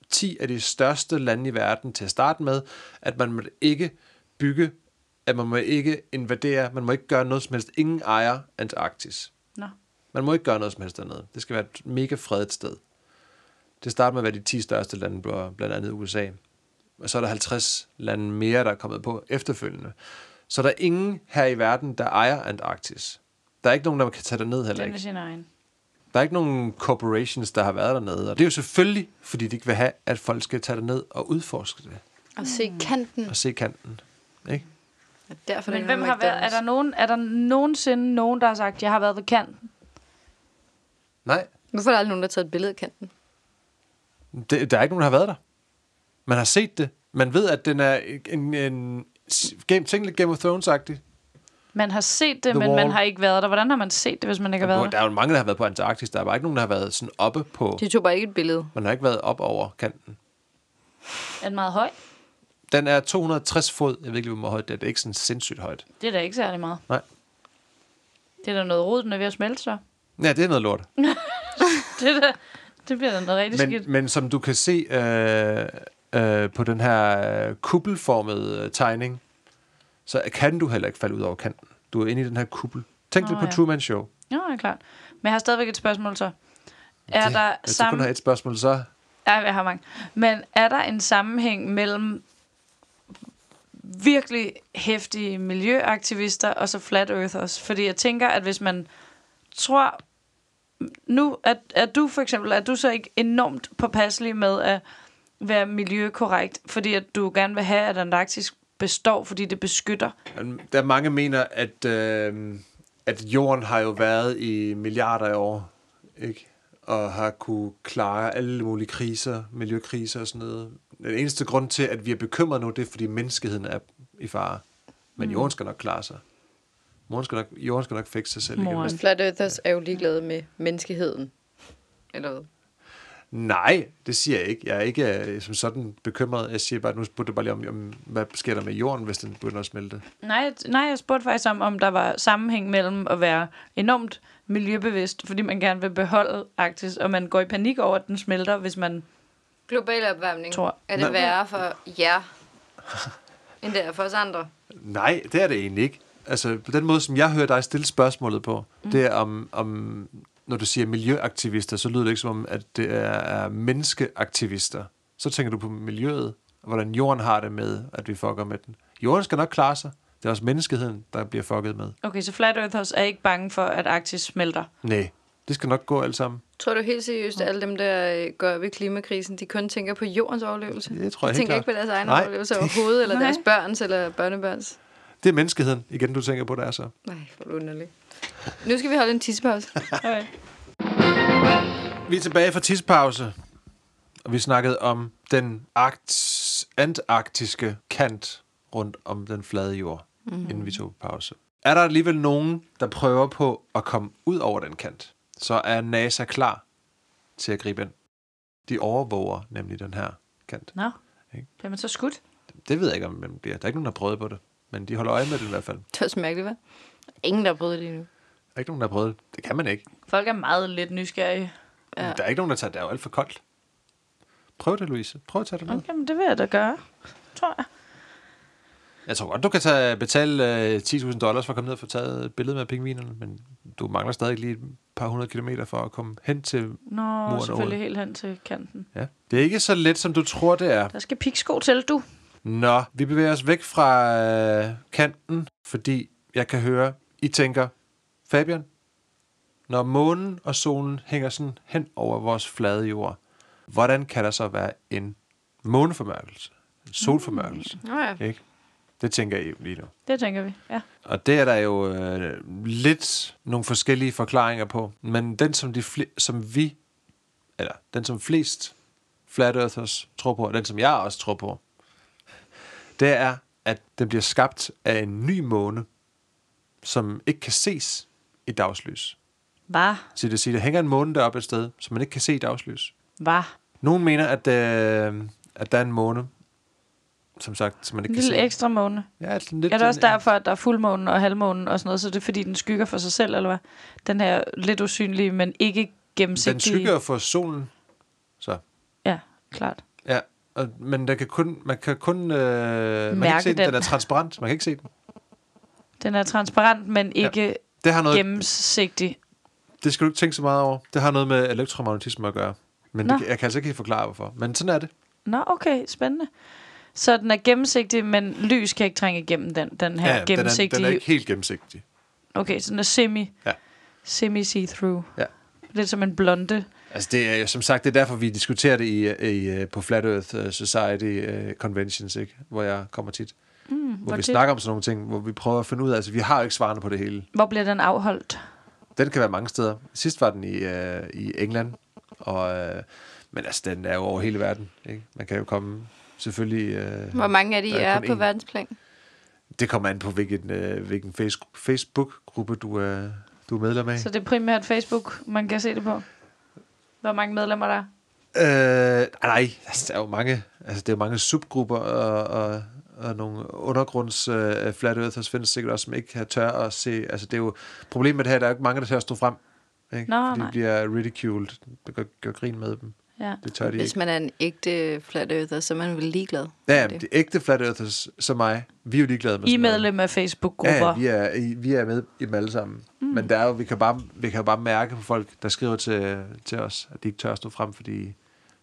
S1: 10 af de største lande i verden til at starte med, at man må ikke bygge, at man må ikke invadere, man må ikke gøre noget som helst. Ingen ejer Antarktis.
S2: Nå.
S1: Man må ikke gøre noget som helst dernede. Det skal være et mega fredet sted. Det starter med at være de 10 største lande, bl- blandt andet USA. Og så er der 50 lande mere, der er kommet på efterfølgende. Så der er ingen her i verden, der ejer Antarktis. Der er ikke nogen, der kan tage ned heller
S2: Den er
S1: ikke.
S2: sin egen.
S1: Der er ikke nogen corporations, der har været dernede. Og det er jo selvfølgelig, fordi de ikke vil have, at folk skal tage ned og udforske det.
S3: Og se kanten.
S1: Og se kanten. Ikke?
S3: Og derfor
S2: Men
S3: er det
S2: hvem har været, er, der
S3: McDonald's.
S2: nogen, er der nogensinde nogen, der har sagt, jeg har været ved kanten?
S1: Nej,
S3: Hvorfor er der aldrig nogen, der har taget et billede af kanten?
S1: det, der er ikke nogen, der har været der. Man har set det. Man ved, at den er en, en s- game, tænk lidt Game of Thrones-agtig.
S2: Man har set det,
S1: The
S2: men man
S1: Wall.
S2: har ikke været der. Hvordan har man set det, hvis man ikke har været
S1: Der
S2: der?
S1: er jo mange, der har været på Antarktis. Der er bare ikke nogen, der har været sådan oppe på...
S3: De tog bare ikke et billede.
S1: Man har ikke været op over kanten.
S2: Er den meget høj?
S1: Den er 260 fod. Jeg ved ikke, lige, hvor højt det er. Det er ikke sådan sindssygt højt.
S2: Det er da ikke særlig meget.
S1: Nej.
S2: Det er da noget rod, den er ved at smelte så.
S1: Ja, det er noget lort.
S2: Det, er da, det bliver da noget rigtig skidt.
S1: Men, men som du kan se øh, øh, på den her øh, kuppelformede øh, tegning, så kan du heller ikke falde ud over kanten. Du er inde i den her kuppel. Tænk
S2: Nå,
S1: lidt på
S2: ja.
S1: Truman Show.
S2: Ja, det er klart. Men jeg har stadigvæk et spørgsmål så. Er
S1: det,
S2: der
S1: Hvis du kun
S2: samme...
S1: har et spørgsmål, så...
S2: Ja, jeg har mange. Men er der en sammenhæng mellem virkelig hæftige miljøaktivister og så flat earthers? Fordi jeg tænker, at hvis man tror... Nu er, er du for eksempel, er du så ikke enormt påpasselig med at være miljøkorrekt, fordi at du gerne vil have, at Antarktis består, fordi det beskytter.
S1: Der er mange mener, at, øh, at jorden har jo været i milliarder af år, ikke? og har kunne klare alle mulige kriser, miljøkriser og sådan noget. Den eneste grund til, at vi er bekymrede nu, det er, fordi menneskeheden er i fare. Men jorden skal nok klare sig. Jorden skal nok, jorden skal nok fikse sig selv igen.
S2: Moren.
S3: Også flat earthers er jo ligeglade med menneskeheden. Eller hvad?
S1: Nej, det siger jeg ikke. Jeg er ikke øh, som sådan bekymret. Jeg siger bare, at nu spurgte du bare lige om, om, hvad sker der med jorden, hvis den begynder at smelte.
S2: Nej, nej, jeg spurgte faktisk om, om der var sammenhæng mellem at være enormt miljøbevidst, fordi man gerne vil beholde Arktis, og man går i panik over, at den smelter, hvis man...
S3: Global opvarmning.
S2: Tror-
S3: Er det værre for jer, end det er for os andre?
S1: Nej, det er det egentlig ikke. Altså, på den måde, som jeg hører dig stille spørgsmålet på, mm. det er om, om, når du siger miljøaktivister, så lyder det ikke som om, at det er, er menneskeaktivister. Så tænker du på miljøet, og hvordan jorden har det med, at vi fucker med den. Jorden skal nok klare sig. Det er også menneskeheden, der bliver fucket med.
S2: Okay, så Flat Earthers er ikke bange for, at Arktis smelter.
S1: Nej, det skal nok gå alt sammen.
S3: Tror du helt seriøst, at alle dem, der øh, går op i klimakrisen, de kun tænker på jordens overlevelse?
S1: Det tror jeg
S3: de
S1: helt
S3: tænker
S1: klart.
S3: ikke på deres egen
S1: Nej.
S3: overlevelse overhovedet, eller
S2: Nej.
S3: deres børns eller børnebørns.
S1: Det er menneskeheden, igen du tænker på der så.
S3: Nej, hvor er det underligt. Nu skal vi holde en tissepause.
S2: Okay.
S1: Vi er tilbage fra tidspause, og vi snakkede om den akt- antarktiske kant rundt om den flade jord, mm-hmm. inden vi tog pause. Er der alligevel nogen, der prøver på at komme ud over den kant, så er NASA klar til at gribe ind. De overvåger nemlig den her kant.
S2: Nå,
S1: Ikke?
S2: bliver man så skudt?
S1: Det ved jeg ikke, om man bliver. Der er ikke nogen, der har prøvet på det, men de holder øje med det i hvert fald. Der
S3: Det var så mærkeligt, hva'? Ingen, der har prøvet det endnu.
S1: er ikke nogen, der har prøvet det. Det kan man ikke.
S2: Folk er meget lidt nysgerrige.
S1: Ja. Der er ikke nogen, der tager det. Det er jo alt for koldt. Prøv det, Louise. Prøv at tage det med.
S2: Okay, men det vil jeg da gøre, tror jeg.
S1: Jeg tror godt, du kan tage, betale øh, 10.000 dollars for at komme ned og få taget et billede med pingvinerne, men du mangler stadig lige et par hundrede kilometer for at komme hen til...
S2: Nå,
S1: derude.
S2: selvfølgelig helt hen til kanten.
S1: Ja. Det er ikke så let, som du tror, det er.
S2: Der skal piksko til, du.
S1: Nå, vi bevæger os væk fra øh, kanten, fordi jeg kan høre, I tænker, Fabian, når månen og solen hænger sådan hen over vores flade jord, hvordan kan der så være en måneformørkelse? En solformørkelse?
S3: Nå ja.
S1: Ikke? Det tænker I lige nu.
S2: Det tænker vi, ja.
S1: Og det er der jo øh, lidt nogle forskellige forklaringer på. Men den, som, de fl- som vi, eller den, som flest flat earthers tror på, og den, som jeg også tror på, det er, at den bliver skabt af en ny måne, som ikke kan ses i dagslys.
S2: Var,
S1: Så det vil sige, der hænger en måne deroppe et sted, som man ikke kan se i dagslys.
S2: var.
S1: Nogen mener, at, øh, at der er en måne, som sagt, som man
S2: En
S1: ikke kan
S2: lille
S1: se.
S2: ekstra måne.
S1: Ja, sådan lidt
S2: Er det også
S1: den-
S2: derfor, at der er fuldmånen og halvmånen og sådan noget, så er det fordi, den skygger for sig selv, eller hvad? Den her lidt usynlige, men ikke gennemsigtige...
S1: Den skygger for solen. Så.
S2: Ja, klart.
S1: Ja, og, men der kan kun, man kan kun øh, man kan
S2: Mærke
S1: ikke se den. den
S2: den.
S1: er transparent. Man kan ikke se den.
S2: Den er transparent, men ikke ja.
S1: Det har noget,
S2: gennemsigtig.
S1: det skal du ikke tænke så meget over. Det har noget med elektromagnetisme at gøre. Men
S2: Nå.
S1: det, kan- jeg kan altså ikke helt forklare, hvorfor. Men sådan er det.
S2: Nå, okay, spændende. Så den er gennemsigtig, men lys kan ikke trænge igennem den, den her ja,
S1: den, er,
S2: gennemsigtige...
S1: den er ikke helt gennemsigtig.
S2: Okay, så den er semi,
S1: Ja.
S2: semi see-through.
S1: Ja.
S2: Lidt som en blonde.
S1: Altså det er jo som sagt, det er derfor, vi diskuterer det i, i, øh, på Flat Earth øh, Society øh, Conventions, ikke? hvor jeg kommer tit. Mm, hvor
S2: hvor
S1: vi
S2: tit?
S1: snakker om sådan nogle ting, hvor vi prøver at finde ud af, altså vi har jo ikke svarene på det hele.
S2: Hvor bliver den afholdt?
S1: Den kan være mange steder. Sidst var den i, øh, i England, og, øh, men altså, den er jo over hele verden. Ikke? Man kan jo komme selvfølgelig... Øh,
S3: Hvor mange af de
S1: der
S3: er,
S1: kun
S3: på
S1: én.
S3: verdensplan?
S1: Det kommer an på, hvilken, øh, hvilken face- Facebook-gruppe du, øh, du er medlem af.
S2: Så det er primært Facebook, man kan se det på. Hvor mange medlemmer der er?
S1: Øh, nej, altså, der er jo mange, altså, der er jo mange subgrupper og, og, og nogle undergrunds øh, flat earthers findes sikkert også, som ikke har tør at se. Altså, det er jo problemet med det her, der er jo ikke mange, der tør at stå frem. Ikke?
S2: Nå,
S1: Fordi
S2: nej.
S1: de bliver ridiculed. Det gør, gør grin med dem.
S2: Ja.
S1: Det tør de ikke.
S3: Hvis man er en ægte flat earther, så er man vel ligeglad.
S1: Ja,
S3: med
S1: det.
S3: det.
S1: de ægte flat earthers, som mig, vi er jo ligeglade med
S2: I er
S1: sådan noget.
S2: medlem af
S1: Ja,
S2: Facebook-grupper.
S1: vi er, i- vi er med i dem alle sammen. Mm. Men der er jo, vi, kan bare, vi kan jo bare mærke på folk, der skriver til, til os, at de ikke tør stå frem, fordi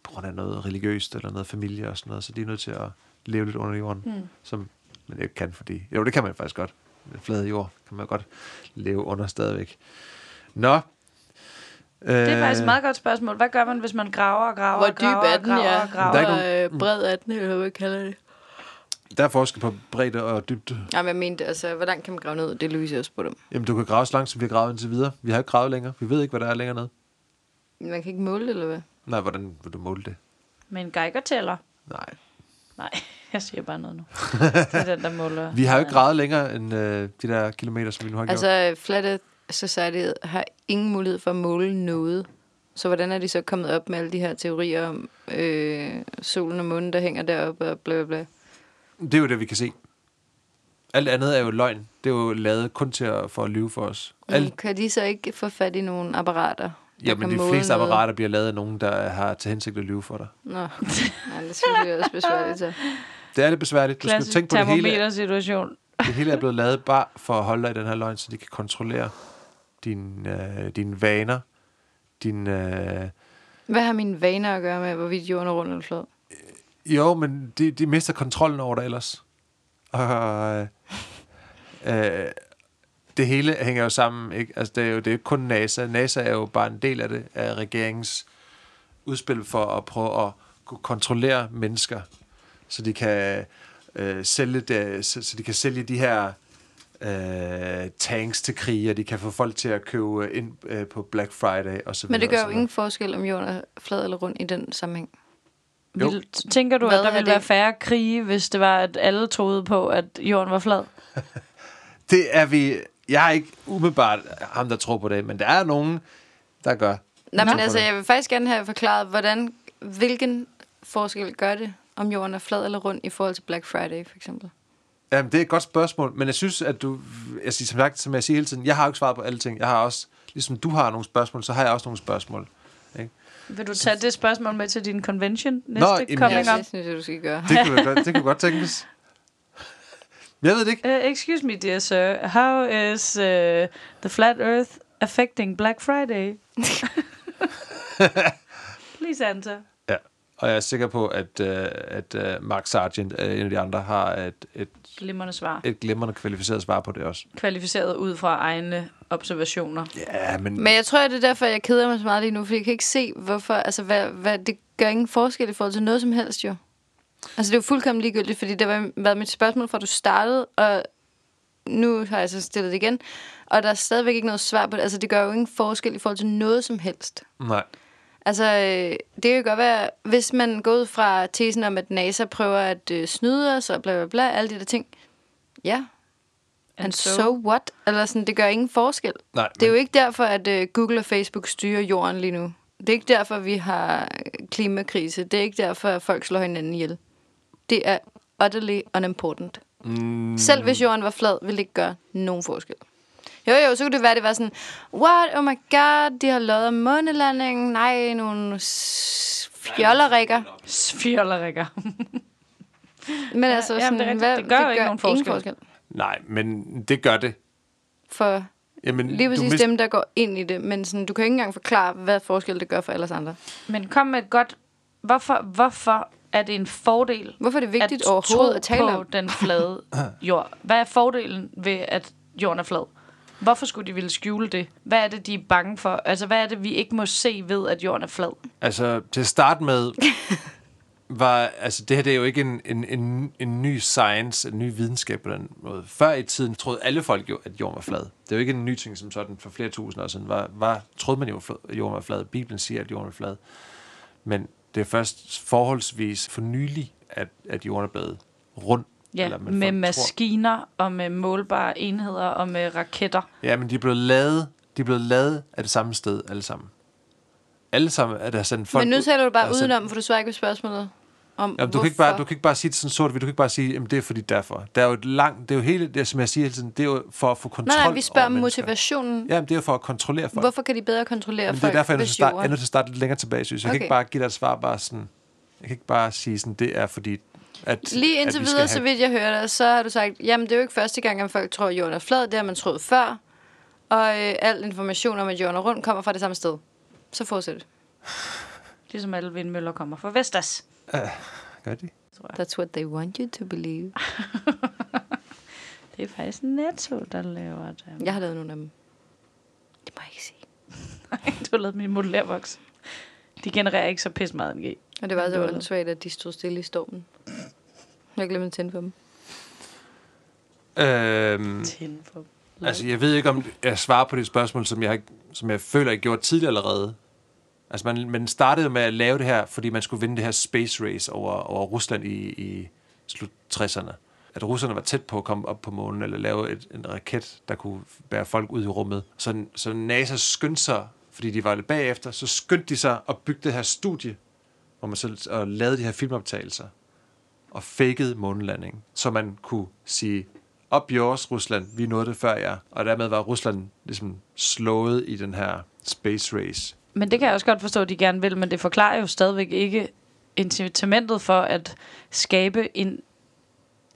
S1: på grund af noget religiøst eller noget familie og sådan noget, så de er nødt til at leve lidt under jorden, mm. som man ikke kan, fordi... Jo, det kan man faktisk godt. Med flad jord kan man godt leve under stadigvæk. Nå. Øh,
S2: Det er faktisk et meget godt spørgsmål. Hvad gør man, hvis man graver og graver
S3: Hvor
S2: og graver
S3: dyb er
S2: og
S3: den,
S2: graver
S3: ja?
S2: og graver?
S1: Der er ikke Mm.
S3: Hvor øh, bred er den, eller hvad vi kalder det?
S1: Der er forskel på bredde og dybde.
S3: Nej, men jeg mente, altså, hvor langt kan man grave ned? Det er Louise også spurgte om.
S1: Jamen, du kan grave så langt, som vi har gravet indtil videre. Vi har ikke gravet længere. Vi ved ikke, hvad der er længere nede.
S3: Man kan ikke måle det, eller hvad?
S1: Nej, hvordan vil du måle det?
S2: Med en geigertæller?
S1: Nej.
S2: Nej, jeg siger bare noget nu. Det er den, der måler.
S1: Vi har jo ikke gravet længere end øh, de der kilometer, som vi nu har altså, gjort.
S3: Altså, Flat Earth Society har ingen mulighed for at måle noget. Så hvordan er de så kommet op med alle de her teorier om øh, solen og månen, der hænger deroppe og bla bla bla?
S1: Det er jo det, vi kan se. Alt andet er jo løgn. Det er jo lavet kun til at, for at lyve for os.
S3: Al-
S1: Alt,
S3: kan de så ikke få fat i nogle apparater? der
S1: ja, men
S3: kan
S1: de
S3: måle
S1: fleste
S3: noget?
S1: apparater bliver lavet af nogen, der har til hensigt at lyve for dig.
S3: Nå, ja, det skal vi også besværligt til.
S1: Det er lidt besværligt. Du skal
S2: Klassisk
S1: tænke på, det hele,
S2: termometer-situation.
S1: det hele er blevet lavet bare for at holde dig i den her løgn, så de kan kontrollere dine øh, din vaner, din... Øh,
S3: Hvad har mine vaner at gøre med, hvorvidt jorden er rundt eller flad?
S1: Jo, men de, de mister kontrollen over dig ellers. Og, øh, øh, det hele hænger jo sammen. Ikke? Altså, det er jo det er jo ikke kun NASA. NASA er jo bare en del af det, af regeringens udspil for at prøve at kunne kontrollere mennesker, så de kan øh, sælge det, så, så de kan sælge de her øh, tanks til krig, og de kan få folk til at købe ind øh, på Black Friday og så videre.
S3: Men det gør
S1: og så
S3: jo
S1: videre.
S3: ingen forskel, om jorden er flad eller rund i den sammenhæng.
S1: Jo.
S2: Vil, tænker du,
S3: Hvad
S2: at der
S3: er
S2: ville
S3: det?
S2: være færre krige, hvis det var, at alle troede på, at jorden var flad?
S1: Det er vi... Jeg er ikke umiddelbart ham, der tror på det, men der er nogen, der gør.
S3: Nej,
S1: Tror
S3: men
S1: på
S3: altså,
S1: det.
S3: jeg vil faktisk gerne have forklaret, hvordan, hvilken forskel gør det, om jorden er flad eller rund i forhold til Black Friday, for eksempel?
S1: Jamen, det er et godt spørgsmål, men jeg synes, at du... Jeg siger, som, sagt, som jeg siger hele tiden, jeg har jo ikke svaret på alle ting. Jeg har også... Ligesom du har nogle spørgsmål, så har jeg også nogle spørgsmål. Ikke?
S2: Vil du tage det spørgsmål med til din convention
S1: Nå,
S2: næste
S1: jamen,
S2: Nå, coming
S3: Ja,
S2: up?
S3: det synes jeg, du skal gøre.
S1: Det kunne, da godt, det kunne godt tænkes. Jeg ved det ikke.
S2: Uh, excuse me, dear sir. How is uh, the flat earth affecting Black Friday? Please answer.
S1: Ja. Og jeg er sikker på, at, øh, at øh, Mark Sargent, øh, en af de andre, har et, et,
S2: Glimrende svar.
S1: et glimrende kvalificeret svar på det også.
S2: Kvalificeret ud fra egne observationer.
S1: Ja, men...
S3: Men jeg tror, at det er derfor, jeg keder mig så meget lige nu, fordi jeg kan ikke se, hvorfor, altså, hvad, hvad, det gør ingen forskel i forhold til noget som helst, jo. Altså, det er jo fuldkommen ligegyldigt, fordi det har været mit spørgsmål, fra du startede, og nu har jeg så stillet det igen, og der er stadigvæk ikke noget svar på det. Altså, det gør jo ingen forskel i forhold til noget som helst.
S1: Nej.
S3: Altså, øh, det kan jo godt være, hvis man går ud fra tesen om, at NASA prøver at øh, snyde os og bla bla bla, alle de der ting. Ja. And, And so. so what? Eller sådan, det gør ingen forskel.
S1: Nej,
S3: det er
S1: men-
S3: jo ikke derfor, at øh, Google og Facebook styrer jorden lige nu. Det er ikke derfor, vi har øh, klimakrise. Det er ikke derfor, at folk slår hinanden ihjel. Det er utterly unimportant. Mm. Selv hvis jorden var flad, ville det ikke gøre nogen forskel. Jo, jo, så kunne det være, det var sådan, what, oh my god, de har lavet om månelandingen. Nej, nogle s- fjollerikker.
S2: Sfjollerrikker.
S3: Men altså,
S2: jamen,
S3: sådan,
S2: det er rigtigt.
S3: hvad,
S2: Det gør jo ikke nogen forskel.
S1: Nej, men det gør det.
S3: For
S1: Jamen,
S3: lige
S1: du
S3: præcis
S1: mist-
S3: dem, der går ind i det. Men sådan, du kan ikke engang forklare, hvad forskel det gør for alle os andre.
S2: Men kom med et godt... Hvorfor, hvorfor er det en fordel
S3: Hvorfor er det vigtigt
S2: at
S3: overhovedet
S2: tro
S3: at tale
S2: på
S3: om?
S2: den flade jord? Hvad er fordelen ved, at jorden er flad? Hvorfor skulle de ville skjule det? Hvad er det, de er bange for? Altså, hvad er det, vi ikke må se ved, at jorden er flad?
S1: Altså, til at starte med, var, altså, det her det er jo ikke en, en, en, en ny science, en ny videnskab på den måde. Før i tiden troede alle folk jo, at jorden var flad. Det er jo ikke en ny ting som sådan, for flere tusind år siden var, var troede man jo, at jorden var flad. Bibelen siger, at jorden er flad. Men det er først forholdsvis for nylig, at, at jorden er blevet rund.
S2: Ja,
S1: eller
S2: med
S1: folk tror-
S2: maskiner og med målbare enheder og med raketter.
S1: Ja, men de er blevet lavet, de er blevet lavet af det samme sted, alle sammen. Alle sammen er der sendt folk
S3: Men nu
S1: ud-
S3: taler du
S1: der
S3: bare
S1: er sendt-
S3: udenom, for du svarer ikke på spørgsmålet. Om
S1: altså- Jamen, du, kan ikke bare, du kan ikke bare sige det sådan sort, du kan ikke bare sige, at det er fordi derfor. Der er jo et langt, det er jo hele, det, er, som jeg siger hele tiden, det er jo for at få kontrol
S3: Nej, nej, vi spørger om
S1: over mennesker.
S3: motivationen. Ja,
S1: Jamen, det er jo for at kontrollere folk.
S3: Hvorfor kan de bedre kontrollere
S1: Men det er
S3: folk,
S1: derfor, jeg er nødt til at
S3: hvis
S1: starte, jeg er
S3: jorden...
S1: nødt til at starte lidt længere tilbage, synes jeg. Jeg kan ikke
S3: Okay.
S1: bare give dig et svar, bare sådan, jeg kan ikke bare sige sådan, det er fordi, at
S3: Lige indtil
S1: at vi skal
S3: videre,
S1: have-
S3: så vidt jeg hører dig, så har du sagt, jamen det er jo ikke første gang, at folk tror, at jorden er flad. Det har man troet før. og øh, al information om, at jorden er rundt, kommer fra det samme sted. Så fortsæt.
S2: Ligesom alle vindmøller kommer fra Vestas.
S1: Gør de?
S3: That's what they want you to believe.
S2: Det er faktisk Netto, der laver det.
S3: Jeg har lavet nogle af dem. Det må jeg ikke sige.
S2: du har lavet min modellærvoks. De genererer ikke så pisse meget energi.
S3: Og det var så
S2: Lullet.
S3: åndssvagt, at de stod stille i stormen. Jeg glemte at tænde for dem.
S1: Øhm,
S2: Tænd for
S1: altså, jeg ved ikke, om jeg svarer på det spørgsmål, som jeg, har- som jeg føler, jeg gjorde tidligere allerede. Altså, man, man startede jo med at lave det her, fordi man skulle vinde det her space race over, over Rusland i, i slut 60'erne. At russerne var tæt på at komme op på månen, eller lave et, en raket, der kunne bære folk ud i rummet. Så, så NASA skyndte sig, fordi de var lidt bagefter, så skyndte de sig at bygge det her studie, hvor man så og lavede de her filmoptagelser og fakede månelandingen, så man kunne sige, op yours, Rusland, vi nåede det før jer. Og dermed var Rusland ligesom slået i den her space race.
S2: Men det kan jeg også godt forstå, at de gerne vil, men det forklarer jo stadigvæk ikke incitamentet for at skabe en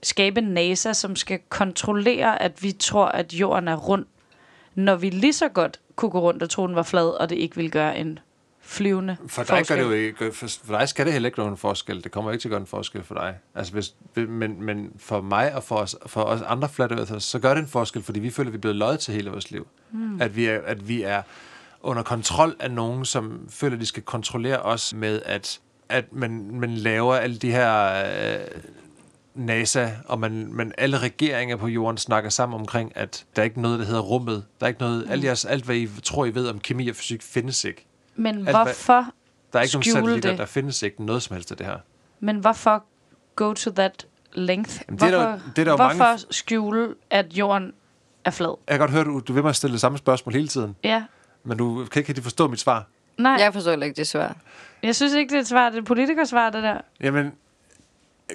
S2: skabe NASA, som skal kontrollere, at vi tror, at jorden er rund, når vi lige så godt kunne gå rundt og tro, den var flad, og det ikke ville gøre en flyvende
S1: For dig, gør
S2: forskel.
S1: det jo ikke, for, for dig skal det heller ikke gøre en forskel. Det kommer ikke til at gøre en forskel for dig. Altså hvis, men, men for mig og for os, for os andre flat earthers, så gør det en forskel, fordi vi føler, at vi er blevet løjet til hele vores liv. Mm. At, vi er, at vi er under kontrol af nogen, som føler, at de skal kontrollere os med, at, at man, man laver alle de her øh, NASA, og man, man, alle regeringer på jorden snakker sammen omkring, at der er ikke noget, der hedder rummet. Der er ikke noget, mm. alt, jeres, alt, hvad I tror, I ved om kemi og fysik, findes ikke. Altså,
S2: Men
S1: hvad-
S2: hvorfor,
S1: Der er ikke nogen
S2: Skjule
S1: satellitter,
S2: det.
S1: der findes ikke noget som helst af det her.
S2: men hvorfor go to that length?
S1: Jamen, det er der jo-
S2: hvorfor
S1: det er der jo mange-
S2: hvorfor skjule, at jorden er flad?
S1: Jeg kan godt høre, du, du vil mig stille det samme spørgsmål hele tiden,
S2: Ja.
S1: men du kan ikke rigtig forstå mit svar.
S2: Nej,
S3: Jeg forstår heller ikke det svar.
S2: jeg synes ikke, det er et svar. Det er et politikersvar, det der.
S1: Jamen,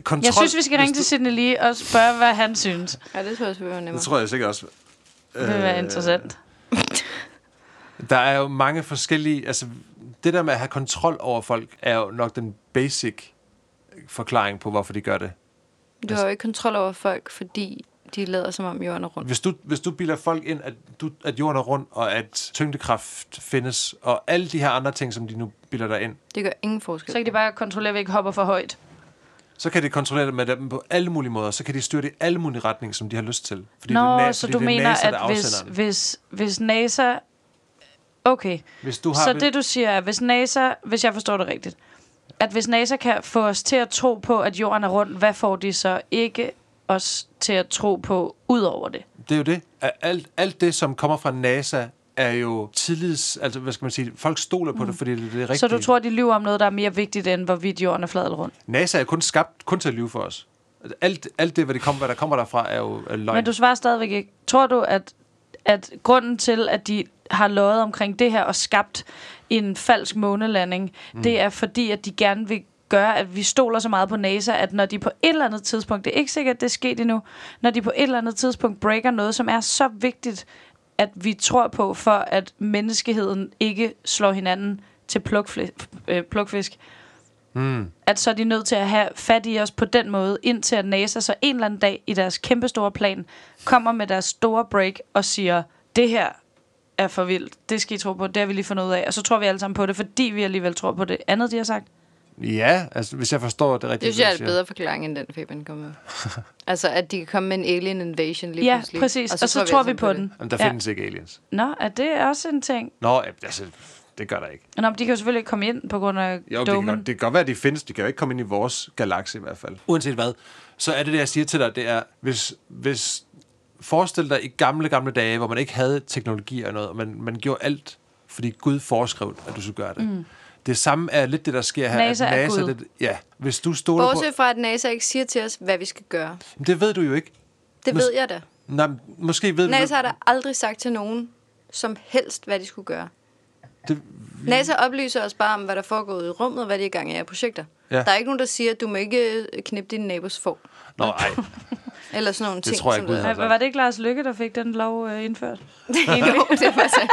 S1: kontrol...
S2: Jeg synes, vi skal
S1: hvis
S2: ringe
S1: du-
S2: til Sidney Lee og spørge, hvad han synes.
S1: Øh,
S3: Ja, det tror jeg også, vi var nemmere.
S1: Det tror jeg sikkert også. Øh,
S2: Det vil være interessant.
S1: Der er jo mange forskellige... Altså, det der med at have kontrol over folk, er jo nok den basic forklaring på, hvorfor de gør det.
S3: Du har jo ikke kontrol over folk, fordi de lader som om jorden er rundt.
S1: Hvis du, hvis du bilder folk ind, at, du, at jorden er rund, og at tyngdekraft findes, og alle de her andre ting, som de nu bilder dig ind,
S3: Det gør ingen forskel.
S2: Så kan de bare kontrollere, at vi ikke hopper for højt.
S1: så kan de kontrollere det med dem på alle mulige måder. Så kan de styre det i alle mulige retninger, som de har lyst til. Fordi
S2: Nå,
S1: det er, na-
S2: så
S1: fordi
S2: du
S1: det er
S2: mener,
S1: NASA, der er
S2: at hvis,
S1: afsenderen.
S2: hvis, hvis NASA... Okay,
S1: Hvis du har
S2: så
S1: vel-
S2: det du siger er, hvis NASA... Hvis jeg forstår det rigtigt. At hvis NASA kan få os til at tro på, at jorden er rund, hvad får de så ikke os til at tro på ud over det?
S1: Det er jo det. At Alt, alt det, som kommer fra NASA, er jo tillids... Altså, hvad skal man sige? Folk stoler på mm. det, fordi det er det rigtige.
S2: Så du tror, de lyver om noget, der er mere vigtigt end, hvorvidt jorden er flad eller rund?
S1: NASA er kun skabt kun til at lyve for os. Alt, alt det, hvad, det kommer, hvad der kommer derfra, er jo er løgn.
S2: Men du svarer stadigvæk ikke. Tror du, at, at grunden til, at de har løjet omkring det her og skabt en falsk månelanding, mm. det er fordi, at de gerne vil gøre, at vi stoler så meget på NASA, at når de på et eller andet tidspunkt, det er ikke sikkert, at det er sket endnu, når de på et eller andet tidspunkt breaker noget, som er så vigtigt, at vi tror på, for at menneskeheden ikke slår hinanden til plukfli- øh, plukfisk, at så er de nødt til at have fat i os på den måde, indtil at NASA så en eller anden dag i deres kæmpestore plan kommer med deres store break og siger, det her er for vildt, det skal I tro på, det har vi lige fundet ud af, og så tror vi alle sammen på det, fordi vi alligevel tror på det andet, de har sagt.
S1: Ja, altså, hvis jeg forstår det rigtigt.
S3: Det synes jeg er
S1: du
S3: en
S1: siger.
S3: bedre forklaring, end den Fabian kom med. altså, at de kan komme med en alien invasion lige
S2: Ja,
S3: pludselig.
S2: præcis, og så, og så tror vi
S3: alle
S2: på
S3: sammen
S2: den.
S1: Jamen, der
S2: Ja.
S1: findes ikke aliens.
S2: Nå, er det også en ting?
S1: Nå, ja, altså, det gør der ikke.
S2: Nå, men de kan jo selvfølgelig ikke komme ind på grund af
S1: Jo, det kan,
S2: domen.
S1: godt, det kan godt være, at de findes. De kan jo ikke komme ind i vores galakse i hvert fald. Uanset hvad, så er det, det jeg siger til dig, det er, hvis, hvis forestil dig i gamle, gamle dage, hvor man ikke havde teknologi og noget, og man, man gjorde alt, fordi Gud foreskrev, at du skulle gøre det. Mm. Det samme er lidt det, der sker her. at
S2: NASA er Gud.
S1: Det, ja, hvis du stoler
S3: Bortset fra, at NASA ikke siger til os, hvad vi skal gøre.
S1: på... Det ved du jo ikke.
S3: Det
S1: Hvis-
S3: ved jeg da.
S1: Nej, men måske ved
S3: NASA
S1: du...
S3: har da aldrig sagt til nogen som helst, hvad de skulle gøre.
S1: Det,
S3: NASA oplyser os bare om, hvad der foregår i rummet, og hvad de er i gang i af projekter.
S1: Ja.
S3: Ja. Der er ikke nogen, der siger, at du må ikke øh, knippe din nabos får.
S1: nå, ej.
S3: Eller sådan nogle ting.
S1: tror jeg
S3: som
S1: Gud
S3: der-
S1: har.
S2: Hvad- Hvad var det ikke Lars Lykke, der fik den lov øh, indført?
S3: jo, det var sandt.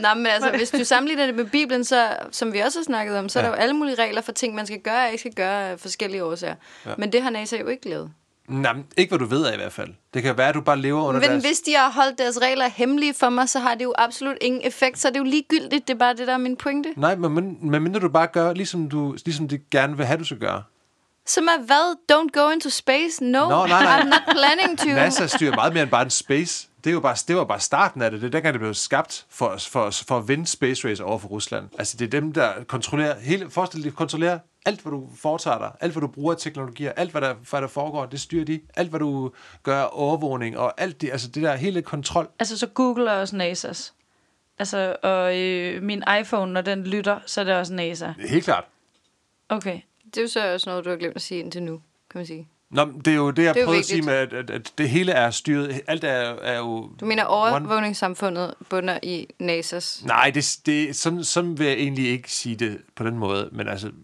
S3: Nå, men altså, hvis du sammenligner det med Bibelen, så, som vi også har snakket om, så ja. er der jo alle mulige regler for ting, man skal gøre og ikke skal gøre af forskellige årsager. Ja. Men det har NASA jo ikke lavet.
S1: Nej, men ikke hvad du ved af i hvert fald. Det kan være, at du bare lever under
S3: Men
S1: deres...
S3: hvis de har holdt deres regler hemmelige for mig, så har det jo absolut ingen effekt. Så er det jo ligegyldigt. Det er bare det, der er min pointe.
S1: Nej, men, men, men mindre du bare gør, ligesom, du, ligesom de gerne vil have, du skal gøre.
S3: Som er hvad? Don't go into space? No,
S1: Nå, nej, nej.
S3: I'm not planning to.
S1: NASA styrer meget mere end bare en space. Det, er jo bare, det var bare starten af det. Det er dengang, det blev skabt for, os, for, os, for at vinde space race over for Rusland. Altså, det er dem, der kontrollerer hele... Forestil dig, de kontrollerer alt, hvad du foretager dig, alt, hvad du bruger af teknologier, alt, hvad der, hvad der foregår, det styrer de. Alt, hvad du gør overvågning, og alt det, altså det der hele kontrol.
S2: Altså, så Google er også NASA's. Altså, og øh, min iPhone, når den lytter, så er det også NASA.
S1: Helt klart.
S2: Okay.
S3: Det er jo så også noget, du har glemt at sige indtil nu, kan man sige.
S1: Nå, men det er jo det, jeg det
S3: Det er jo
S1: prøvede at sige
S3: vigtigt.
S1: med, at, at, at det hele er styret. Alt er, er jo...
S3: Du mener, overvågningssamfundet bunder i NASA's.
S1: Nej, det, det, sådan, sådan vil jeg egentlig ikke sige det på den måde, men altså... Ej,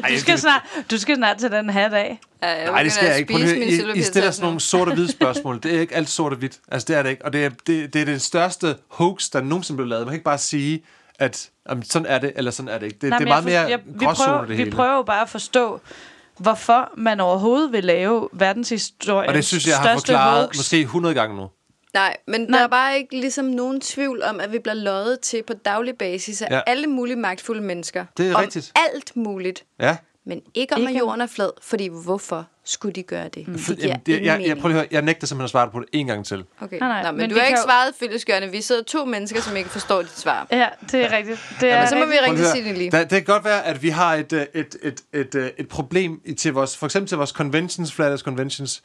S2: Du
S1: jeg
S2: skal, snart, du skal snart til den hat af.
S3: Ja, jeg
S1: Nej,
S3: begynder
S1: det skal jeg
S3: at
S1: ikke. Prøv at
S3: spise
S1: høre, I,
S3: min
S1: I
S3: syltekage
S1: stiller sådan
S3: nu.
S1: nogle sort og hvide spørgsmål. Det er ikke alt sort og hvidt. Altså, det er det ikke. Og det er det, det, er det største hoax, der nogensinde blev lavet. Man kan ikke bare sige, at jamen, sådan er det, eller sådan er det ikke. Det, Nej, det er meget
S2: men jeg
S1: mere
S2: forstår-
S1: jeg, gråzoner,
S2: vi
S1: det
S2: prøver, Vi
S1: hele.
S2: prøver jo bare at forstå, hvorfor man overhovedet vil lave verdenshistoriens
S1: og det synes jeg, jeg har
S2: største
S1: forklaret
S2: hoax.
S1: måske 100 gange nu.
S3: Nej, men Nej.
S2: Nej.
S3: der er bare ikke ligesom nogen tvivl om, at vi bliver løjet til på daglig basis af
S1: Ja.
S3: ja. alle mulige magtfulde mennesker.
S1: Det er
S3: om
S1: rigtigt.
S3: alt muligt.
S1: Ja.
S3: Men ikke
S2: Ikke
S3: om, ikke at
S2: om-
S3: jorden er flad, fordi hvorfor skulle de gøre det? Mm. Det giver
S1: Jamen, det,
S3: ingen
S1: jeg, jeg,
S3: mening.
S1: prøv lige at høre, jeg nægter simpelthen at svare på det en gang til.
S2: Nej,
S3: Okay. Nej,
S2: nej,
S3: nej, Nå, men,
S2: men
S3: men du
S2: vi
S3: har
S2: kan
S3: ikke
S2: jo-
S3: svaret fyldeskørende. Vi sidder to mennesker, som ikke forstår dit
S1: Øh,
S3: svar.
S2: Ja, det er rigtigt. Det er
S3: så må vi
S2: rigtigt.
S3: ringe
S1: Prøv
S3: til
S1: at høre.
S3: Signe lige.
S1: Der, det kan godt være, at vi har et, øh, et, et, et, øh, et problem i- til vores, for eksempel til vores conventions, Flatters Conventions.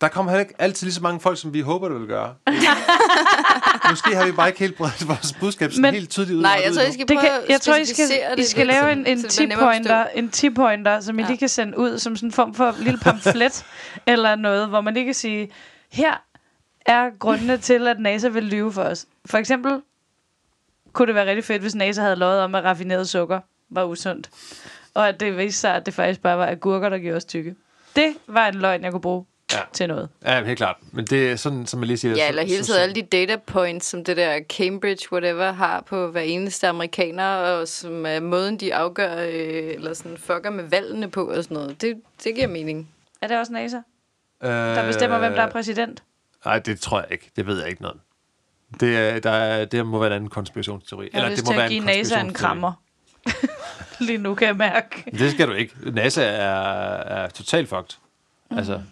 S1: Der kommer heller ikke altid lige så mange folk, som vi håber, det vil gøre. Måske har vi bare ikke helt bredt vores budskab sådan
S2: Men-
S1: helt tydeligt ud.
S3: Nej, jeg
S1: ud
S3: tror,
S1: endnu.
S3: I skal
S2: Det
S3: prøve
S2: kan,
S3: at
S2: jeg tror, I skal,
S3: specificere
S2: I
S3: det
S2: skal
S3: lidt,
S2: lave en, en
S3: så det bliver nemmere at forstå.
S2: tip-pointer, en tip-pointer, som I
S3: Ja.
S2: lige kan sende ud som sådan en form for lille pamflet eller noget, hvor man lige kan sige, her er grundene til, at NASA vil lyve for os. For eksempel kunne det være rigtig fedt, hvis NASA havde lovet om, at raffineret sukker var usundt. Og at det viste sig, at det faktisk bare var agurker, der gjorde os tykke. Det var en løgn, jeg kunne bruge
S1: Ja.
S2: ja. til noget.
S1: Ja, helt klart. Men det er sådan, som jeg lige siger.
S3: Ja,
S1: så-
S3: eller hele
S1: så-
S3: tiden alle de data points, som det der Cambridge whatever har på hver eneste amerikaner, og som er måden, de afgør, øh, eller sådan fucker med valgene på og sådan noget. Det, det giver mening.
S2: Er det også NASA,
S1: Øh,
S2: der bestemmer, hvem der er præsident?
S1: Nej, det tror jeg ikke. Det ved jeg ikke noget. om. Det, er, der er, det må være en anden konspirationsteori.
S2: Jeg har
S1: det
S2: lyst
S1: må
S2: til
S1: være
S2: at give NASA en
S1: konspirationsteori.
S2: krammer. lige nu kan jeg mærke.
S1: Det skal du ikke. NASA er, er totalt fucked. Mm. Altså,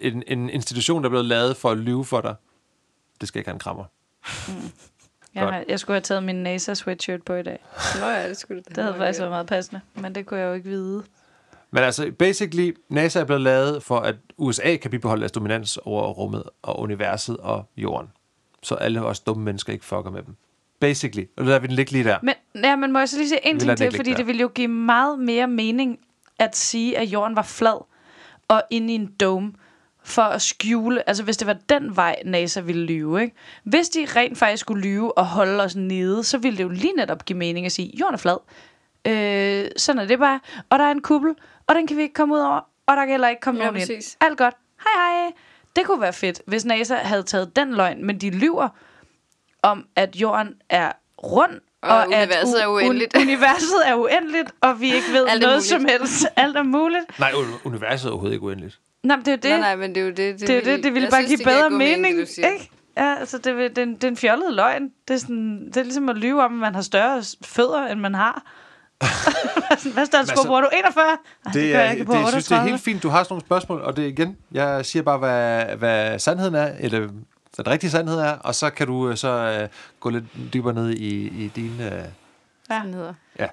S1: en, en institution, der er blevet lavet for at lyve for dig, det skal ikke have en krammer.
S2: Jeg,
S1: Godt.
S2: har, jeg skulle have taget min NASA sweatshirt på i dag.
S3: Nå ja, det skulle
S2: Det havde faktisk været meget passende, men det kunne jeg jo ikke vide.
S1: Men altså, basically, NASA er blevet lavet for, at USA kan bibeholde deres dominans over rummet og universet og jorden. Så alle os dumme mennesker ikke fucker med dem. Basically. Og der lader vi den ligge lige der.
S2: Men, ja, men må jeg så lige sige en
S1: Vi lader
S2: ting
S1: den
S2: til,
S1: ikke
S2: fordi
S1: ligge der.
S2: det ville jo give meget mere mening at sige, at jorden var flad og inde i en dome for at skjule, altså hvis det var den vej, NASA ville lyve, ikke? Hvis de rent faktisk skulle lyve og holde os nede, så ville det jo lige netop give mening at sige, jorden er flad. Øh, sådan er det bare. Og der er en kuppel, og den kan vi ikke komme ud over, og der kan heller ikke komme
S3: Ja,
S2: nogen ind.
S3: præcis.
S2: Alt godt. Hej hej. Det kunne være fedt, hvis NASA havde taget den løgn, men de lyver om, at jorden er rund,
S3: Og universet er uendeligt.
S2: Un- universet er uendeligt, og vi ikke ved
S3: Alt
S2: noget
S3: er
S2: som helst. Alt er muligt.
S1: Nej, un- universet er overhovedet ikke uendeligt.
S2: Nå, men det er jo det.
S3: Nej, nej, men det er jo det.
S2: det, er jo det, det ville
S3: jeg
S2: bare
S3: synes,
S2: give
S3: det giver
S2: bedre
S3: god
S2: mening,
S3: det, du siger.
S2: ikke? Ja, altså, det, vil- det, er en, det er en fjollet løgn. Det er, sådan, det er ligesom at lyve om, at man har større s- fødder, end man har. Sådan, Hvad større sko
S1: altså,
S2: bruger du? 41? Ej, det, det gør jeg ikke på
S1: det, jeg synes, det er
S2: 38.
S1: helt fint, du har sådan nogle spørgsmål, og det er igen, jeg siger bare, hvad, hvad sandheden er, eller hvad den rigtige sandhed er, og så kan du øh, så øh, gå lidt dybere ned i, i dine... Øh.
S2: Ja,
S3: Sådan hedder.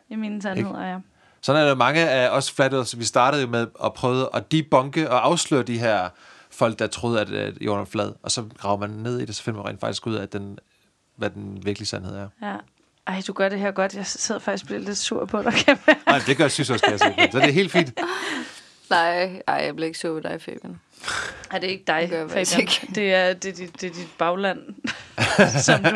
S2: i mine sandheder, ja.
S1: Sådan er der mange af os flat earthers, vi startede jo med at prøve at debunke og afsløre de her folk, der troede, at øh, jorden var flad, og så graver man ned i det, så finder man rent faktisk ud af, at den, hvad den virkelige sandhed er.
S2: ja. Ej, du gør det her godt. Jeg sidder faktisk og bliver lidt sur på dig, kan jeg mærke.
S1: Nej, det gør jeg synes også, kan jeg se. Så det er helt fint.
S3: Nej, ej, jeg bliver ikke sur ved dig, Fabian.
S2: Er det ikke
S3: Det gør
S2: dig,
S3: jeg faktisk
S2: Fabian? Det er, det, er dit, det er dit bagland, som du,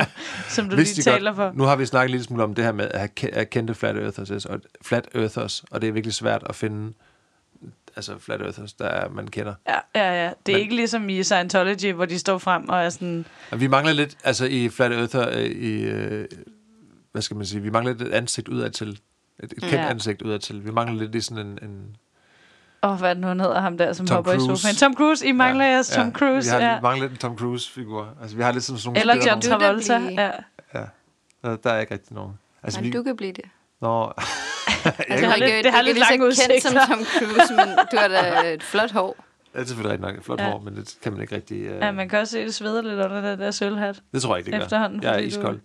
S2: som du
S1: Vidste
S2: lige
S1: I
S2: taler for.
S1: Nu har vi snakket lidt smule om det her med at have ke- at kendte flat earthers, altså, og, flat earthers, og det er virkelig svært at finde altså flat earthers, der er- man kender.
S2: Ja, ja, ja. Det er
S1: Men-
S2: Men... ikke ligesom i Scientology, hvor de står frem og er sådan...
S1: Og vi mangler lidt, altså i flat earther, øh, i, øh, hvad skal man sige, vi mangler lidt et ansigt udadtil. Et, et kendt
S2: Ja.
S1: ansigt udadtil. Vi mangler lidt i sådan en, en
S2: Åh, oh, hvad er det nu, han hedder ham der, som
S1: Tom
S2: hopper i
S1: Cruise.
S2: sofaen. Tom Cruise, I mangler ja, jeres Tom Cruise.
S1: Vi har
S2: Ja.
S1: ja. mangler en Tom Cruise-figur. Altså, vi har lidt sådan nogle
S2: Eller
S1: spillere
S2: John
S3: du da
S2: Travolta.
S3: blive-
S2: Ja.
S1: nogen. Øh, Der er ikke rigtig nogen. Altså,
S3: Nej,
S1: vi...
S3: du kan blive det.
S1: Nå,
S3: Altså,
S2: har
S3: du er
S2: lidt-
S3: ikke-
S2: det har
S3: du er
S2: lidt
S3: ikke
S2: lange
S3: lige så kendt som
S2: udsigter.
S3: Tom Cruise, men du har da et flot hår.
S1: det er selvfølgelig rigtig nok et flot
S2: Ja.
S1: ja. hår, men det kan man ikke rigtig... Øh...
S2: ja, man kan også se, det sveder lidt under den der sølvhat.
S1: Det tror jeg ikke, det gør.
S2: Efterhånden,
S1: jeg er
S2: fordi du-
S1: iskold.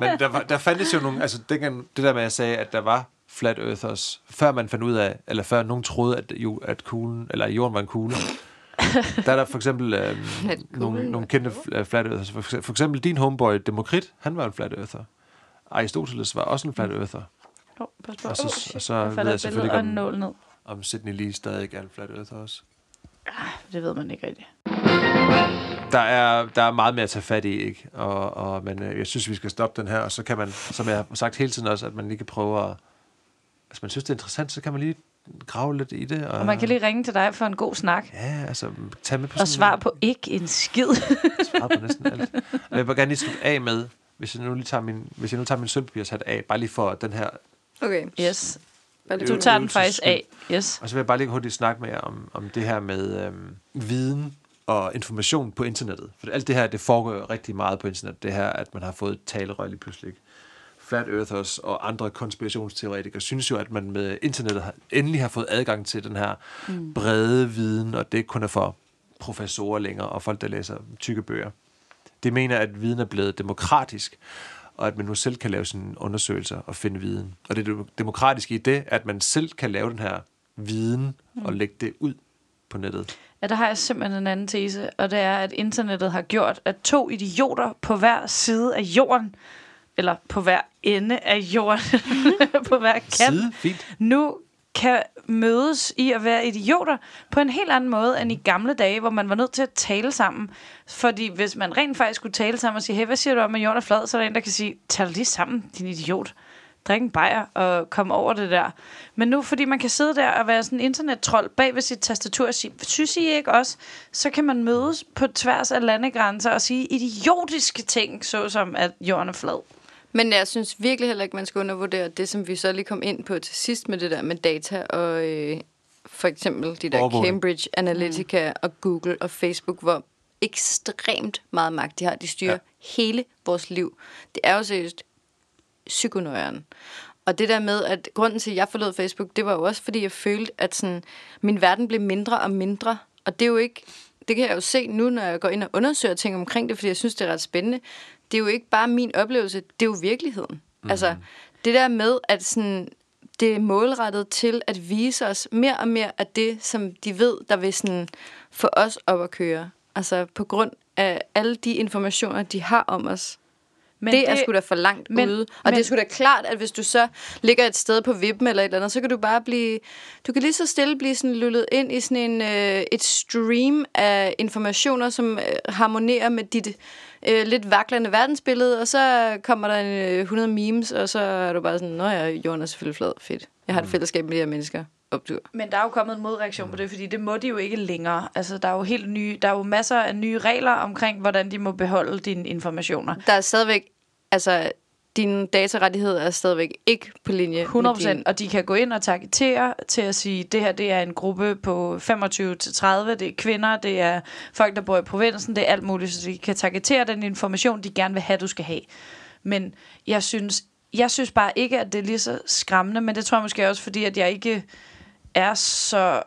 S1: Men der, var, der fandtes jo nogle... Altså, dengang, det der med, at jeg sagde, at der var flat earthers, før man fandt ud af, eller før nogen troede, at, jo, at kuglen, eller at jorden var en kugle. der er der for eksempel øh, nogle,
S3: kuglen
S1: nogle kendte fl- flat earthers. For, ekse- for eksempel din homeboy Demokrit, han var en flat earther. Aristoteles var også en flat earther.
S2: Oh, pas på.
S1: Og så-
S2: oh,
S1: og
S2: shit.
S1: så
S2: Der
S1: ved
S2: falder
S1: jeg
S2: et
S1: selvfølgelig
S2: billede
S1: ikke,
S2: og
S1: om-
S2: en nål ned.
S1: Om Sidney Lee stadig er en flat earther også.
S2: Det ved man ikke rigtigt.
S1: Der er, der er meget mere at tage fat i, ikke? Og, og, men øh, jeg synes, vi skal stoppe den her, og så kan man, som jeg har sagt hele tiden også, at man lige kan prøve at... Hvis man synes, det er interessant, så kan man lige grave lidt i det. Og,
S2: Og man kan lige ringe til dig for en god snak.
S1: Ah. Ja, altså, tage med på
S2: Og
S1: sådan-
S2: svar på ikke en skid.
S1: svare på næsten alt. Og jeg vil gerne lige slutte af med, hvis jeg nu lige tager min, hvis jeg nu tager min sølvpapirshat af, bare lige for den her...
S3: Okay.
S2: yes.
S3: Bare lige
S2: Du
S3: ud.
S2: tager den faktisk af. Yes.
S1: Og så vil jeg bare lige hurtigt snakke med jer om, om det her med øhm, viden og information på internettet. For alt det her, det foregår jo rigtig meget på internettet. Det her, at man har fået et talerør lige pludselig. ikke? Flat Earthers og andre konspirationsteoretikere synes jo, at man med internettet har, endelig har fået adgang til den her mm. brede viden, og det ikke kun er for professorer længere og folk, der læser tykke bøger. Det mener, at viden er blevet demokratisk, og at man nu selv kan lave sine undersøgelser og finde viden. Og det dem- demokratiske i det, at man selv kan lave den her viden
S2: Mm.
S1: og lægge det ud på nettet.
S2: Ja, der har jeg simpelthen en anden tese, og det er, at internettet har gjort, at to idioter på hver side af jorden, eller på hver ende af jorden, på hver kant,
S1: Side, fint.
S2: nu kan mødes i at være idioter på en helt anden måde
S3: Mm.
S2: end i gamle dage, hvor man var nødt til at tale sammen. Fordi hvis man rent faktisk skulle tale sammen og sige, hey, hvad siger du om, at jorden er flad? Så er der en, der kan sige, tal lige sammen, din idiot. Drik en bajer og kom over det der. Men nu, fordi man kan sidde der og være sådan en internettrold bag ved sit tastatur og sige, synes I ikke også? Så kan man mødes på tværs af landegrænser og sige idiotiske ting, såsom at jorden er flad.
S3: Men jeg synes virkelig heller ikke, man skal undervurdere det, som vi så lige kom ind på til sidst med det der med data og øh, for eksempel de der
S1: Overvågning.
S3: Cambridge Analytica mm. og Google og Facebook, hvor ekstremt meget magt de har. De styrer ja. hele vores liv. Det er jo seriøst psykonøjeren. Og det der med, at grunden til, at jeg forlod Facebook, det var jo også, fordi jeg følte, at sådan, min verden blev mindre og mindre. Og det er jo ikke, det kan jeg jo se nu, når jeg går ind og undersøger ting omkring det, fordi jeg synes, det er ret spændende. Det er jo ikke bare min oplevelse, det er jo virkeligheden. Mm. Altså, det der med, at sådan, det er målrettet til at vise os mere og mere af det, som de ved, der vil sådan få os op at køre. Altså på grund af alle de informationer, de har om os. Men det, det er sgu da for langt
S2: men-
S3: men, ude. Og
S2: men-
S3: men, det er sgu da klart, at hvis du så ligger et sted på vippen eller et eller andet, så kan du bare blive... Du kan lige så stille blive sådan lullet ind i sådan en, øh, et stream af informationer, som øh, harmonerer med dit øh, lidt vaklende verdensbillede, og så kommer der en, øh, 100 memes, og så er du bare sådan, nå ja, jorden er selvfølgelig flad. Fedt. Jeg har et fællesskab med de her mennesker. Optur.
S2: Men der er jo kommet en modreaktion på det, fordi det må de jo ikke længere. Altså, der er jo helt nye, der er jo masser af nye regler omkring, hvordan de må beholde dine informationer.
S3: Der er stadigvæk... Altså, dine datarettigheder er stadigvæk ikke på linje
S2: 100
S3: med dine
S2: procent, og de kan gå ind og targetere til at sige, det her det er en gruppe på 25-30, det er kvinder, det er folk, der bor i provinsen, det er alt muligt, så de kan targetere den information, de gerne vil have, du skal have. Men jeg synes, jeg synes bare ikke, at det er lige så skræmmende, men det tror jeg måske også, fordi at jeg ikke er så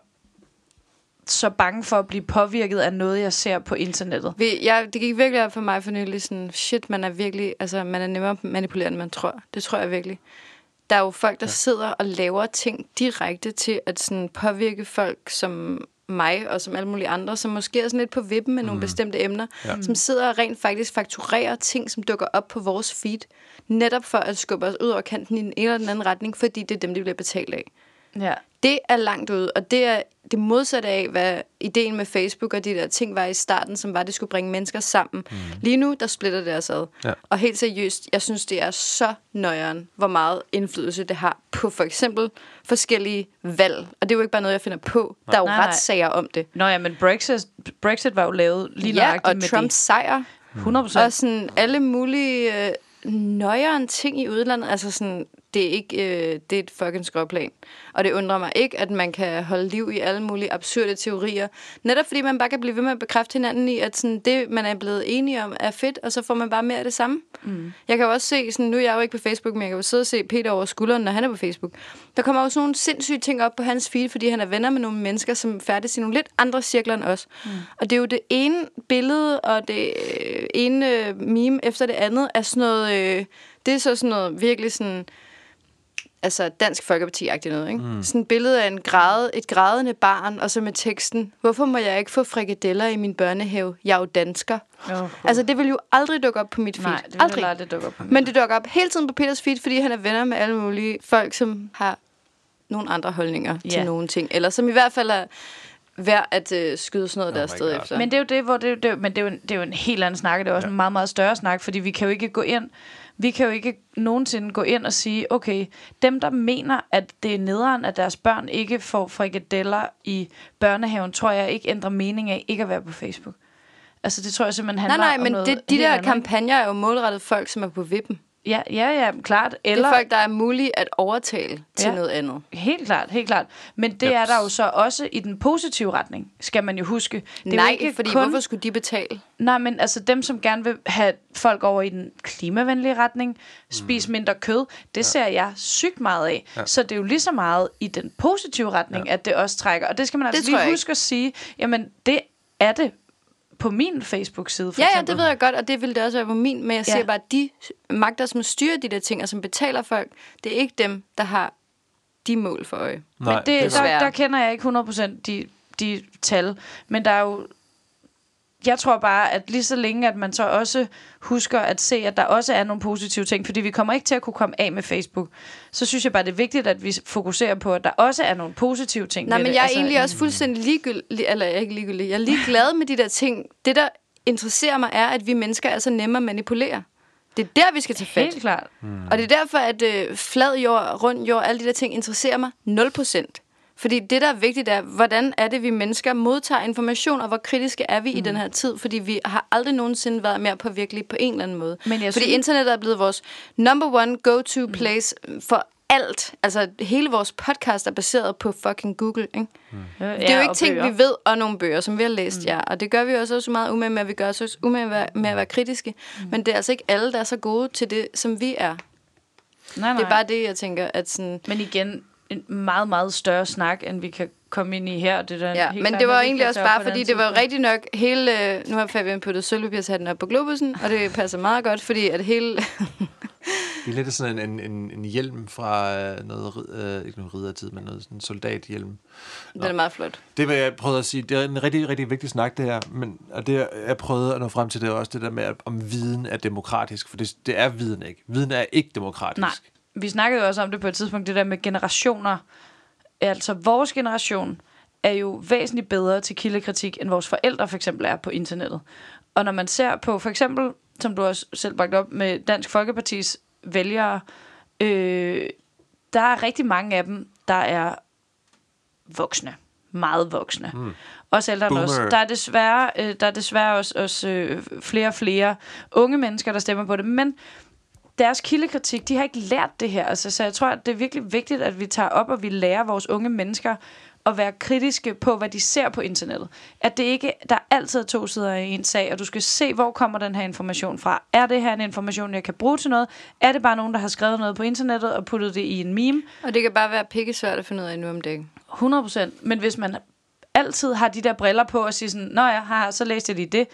S2: så bange for at blive påvirket af noget, jeg ser på internettet.
S3: Vi, jeg, det gik virkelig op for mig for nylig, sådan, shit, man er virkelig, altså, man er nemmere manipulerende, end man tror. Det tror jeg virkelig. Der er jo folk, der ja. sidder og laver ting direkte til at sådan, påvirke folk som mig og som alle mulige andre, som måske er sådan lidt på vippen med nogle bestemte emner, Mhm. ja. som sidder og rent faktisk fakturerer ting, som dukker op på vores feed, netop for at skubbe os ud over kanten i den ene eller den anden retning, fordi det er dem, de bliver betalt af.
S2: Ja.
S3: Det er langt ud, og det er det modsatte af, hvad ideen med Facebook og de der ting var i starten, som var, at det skulle bringe mennesker sammen. Mm. Lige nu, der splitter det os ad.
S1: Ja.
S3: Og helt seriøst, jeg synes, det er så nøjeren, hvor meget indflydelse det har på for eksempel forskellige valg. Og det er jo ikke bare noget, jeg finder på. Der er jo
S2: Nej, nej.
S3: retssager om det.
S2: Nå ja, men Brexit, Brexit var jo lavet lige
S3: ja,
S2: nøjagtigt
S3: og
S2: med
S3: Trumps sejr.
S2: det. 100
S3: Og sådan alle mulige øh, nøjeren ting i udlandet. Altså sådan, Det er ikke øh, det er et fucking skråplan. Og det undrer mig ikke, at man kan holde liv i alle mulige absurde teorier. Netop fordi man bare kan blive ved med at bekræfte hinanden i, at sådan, det, man er blevet enige om, er fedt, og så får man bare mere af det samme. Mm. Jeg kan jo også se, sådan, nu er jeg jo ikke på Facebook, men jeg kan jo sidde og se Peter over skulderen, når han er på Facebook. Der kommer jo sådan nogle sindssyge ting op på hans feed, fordi han er venner med nogle mennesker, som færdes i nogle lidt andre cirkler end os. Mm. Og det er jo det ene billede og det øh, ene øh, meme efter det andet er sådan noget... Øh, det er så sådan noget virkelig sådan altså Dansk Folkeparti-agtigt noget, ikke? Mm. Sådan et billede af en græde, et grædende barn, og så med teksten, hvorfor må jeg ikke få frikadeller i min børnehave? Jeg er jo dansker.
S2: Oh,
S3: Altså, det vil jo aldrig dukke op på mit feed.
S2: Nej, det vil
S3: aldrig.
S2: aldrig. aldrig dukke op.
S3: Men det dukker op hele tiden på Peters feed, fordi han er venner med alle mulige folk, som har nogle andre holdninger yeah.
S2: Ja.
S3: til nogle ting. Eller som i hvert fald er værd at øh, skyde sådan noget oh der
S4: my
S3: sted
S4: God.
S3: efter.
S2: Men det er jo det, hvor det, er jo- det, er jo- men det er, jo en, det er jo en helt anden snak, og det er også ja. en meget, meget større snak, fordi vi kan jo ikke gå ind, vi kan jo ikke nogensinde gå ind og sige, okay, dem der mener, at det er nederen, at deres børn ikke får frikadeller i børnehaven, tror jeg ikke ændrer mening af ikke at være på Facebook. Altså det tror jeg simpelthen
S3: nej,
S2: handler
S3: nej,
S2: om
S3: men
S2: noget
S3: det, de
S2: helt
S3: der
S2: andet, ikke?
S3: kampagner er jo målrettet folk, som er på vippen.
S2: Ja, ja, ja, klart.
S3: Eller...
S2: Eller,
S3: Det er folk, der er mulige at overtale til
S2: Ja.
S3: noget andet.
S2: Helt klart, helt klart. Men det
S4: Jeps.
S2: er der jo så også i den positive retning, skal man jo huske. Det er
S3: Nej,
S2: jo ikke
S3: fordi
S2: kun...
S3: hvorfor skulle de betale?
S2: Nej, men altså dem, som gerne vil have folk over i den klimavenlige retning, spise mindre kød, det Mm. ja. ser jeg sygt meget af. Ja. Så det er jo lige så meget i den positive retning, ja. at det også trækker. Og det skal man altså
S3: tror
S2: lige
S3: jeg
S2: huske at sige, jamen det er det på min Facebook-side for
S3: Ja, ja,
S2: eksempel.
S3: det ved jeg godt, og det ville det også være på min, men jeg
S2: Ja.
S3: siger bare, at de magter, som styrer de der ting, og som betaler folk, det er ikke dem, der har de mål for øje.
S4: Nej,
S2: men det,
S4: det
S2: det
S4: er
S2: der,
S3: svært.
S2: der kender jeg ikke 100% de, de tal, men der er jo... Jeg tror bare, at lige så længe, at man så også husker at se, at der også er nogle positive ting, fordi vi kommer ikke til at kunne komme af med Facebook, så synes jeg bare, det er vigtigt, at vi fokuserer på, at der også er nogle positive ting.
S3: Nej,
S2: ved
S3: men
S2: det. Altså,
S3: jeg er egentlig også fuldstændig ligegyldig, eller jeg er ikke ligegyldig, jeg er ligeglad med de der ting. Det, der interesserer mig, er, at vi mennesker er så nemme at manipulere. Det er der, vi skal tage fat.
S2: Helt klart.
S3: Og det er derfor, at øh, flad jord, rund jord, alle de der ting interesserer mig 0%. Fordi det, der er vigtigt, er, hvordan er det, vi mennesker modtager information, og hvor kritiske er vi mm. i den her tid? Fordi vi har aldrig nogensinde været mere påvirkelige på en eller anden måde.
S2: Men jeg
S3: fordi
S2: synes-
S3: internettet er blevet vores number one go-to place mm. for alt. Altså, hele vores podcast er baseret på fucking Google, ikke?
S2: Øh, Ja,
S3: Det er jo ikke ting, vi ved, og nogle bøger, som vi har læst, mm. ja. Og det gør vi også så meget umage med, at vi gør os også umage med at- med at være kritiske. Mm. Men det er altså ikke alle, der er så gode til det, som vi er.
S2: Nej, nej.
S3: Det er bare det, jeg tænker, at sådan...
S2: Men igen, en meget, meget større snak, end vi kan komme ind i her. Det der
S3: Ja, men det var egentlig også bare, fordi det var jo rigtig nok hele... øh, Nu har Fabian puttet sølvpapirshatten op på globusen, og det passer meget godt, fordi at hele...
S4: Det er lidt sådan en, en, en, en hjelm fra øh, noget, rid- øh, ikke noget riddertid, men noget sådan soldathjelm.
S3: Den er meget flot.
S4: Det var jeg prøvede at sige. Det er en rigtig, rigtig vigtig snak, det her. Men, og det, jeg prøvede at nå frem til, det er også det der med, at, om viden er demokratisk. For det, det er viden ikke. Viden er ikke demokratisk.
S2: Nej, vi snakkede jo også om det på et tidspunkt, det der med generationer. Altså, vores generation er jo væsentligt bedre til kildekritik, end vores forældre for eksempel er på internettet. Og når man ser på, for eksempel, som du også selv bragt op med Dansk Folkepartis vælgere, øh, der er rigtig mange af dem, der er voksne. Meget voksne. Mm. Også ældre end os.
S4: Boomer.
S2: Der er desværre, øh, der er desværre også, også øh, flere og flere unge mennesker, der stemmer på det. Men deres kildekritik, de har ikke lært det her. Altså, så jeg tror, at det er virkelig vigtigt, at vi tager op, og vi lærer vores unge mennesker at være kritiske på, hvad de ser på internettet. At det ikke, der er altid to sider i en sag, og du skal se, hvor kommer den her information fra. Er det her en information, jeg kan bruge til noget? Er det bare nogen, der har skrevet noget på internettet og puttet det i en meme?
S3: Og det kan bare være pikkesvært at finde ud af nu om dagen.
S2: 100%. Men hvis man altid har de der briller på og siger sådan, nå ja, haha, så læste jeg lige det.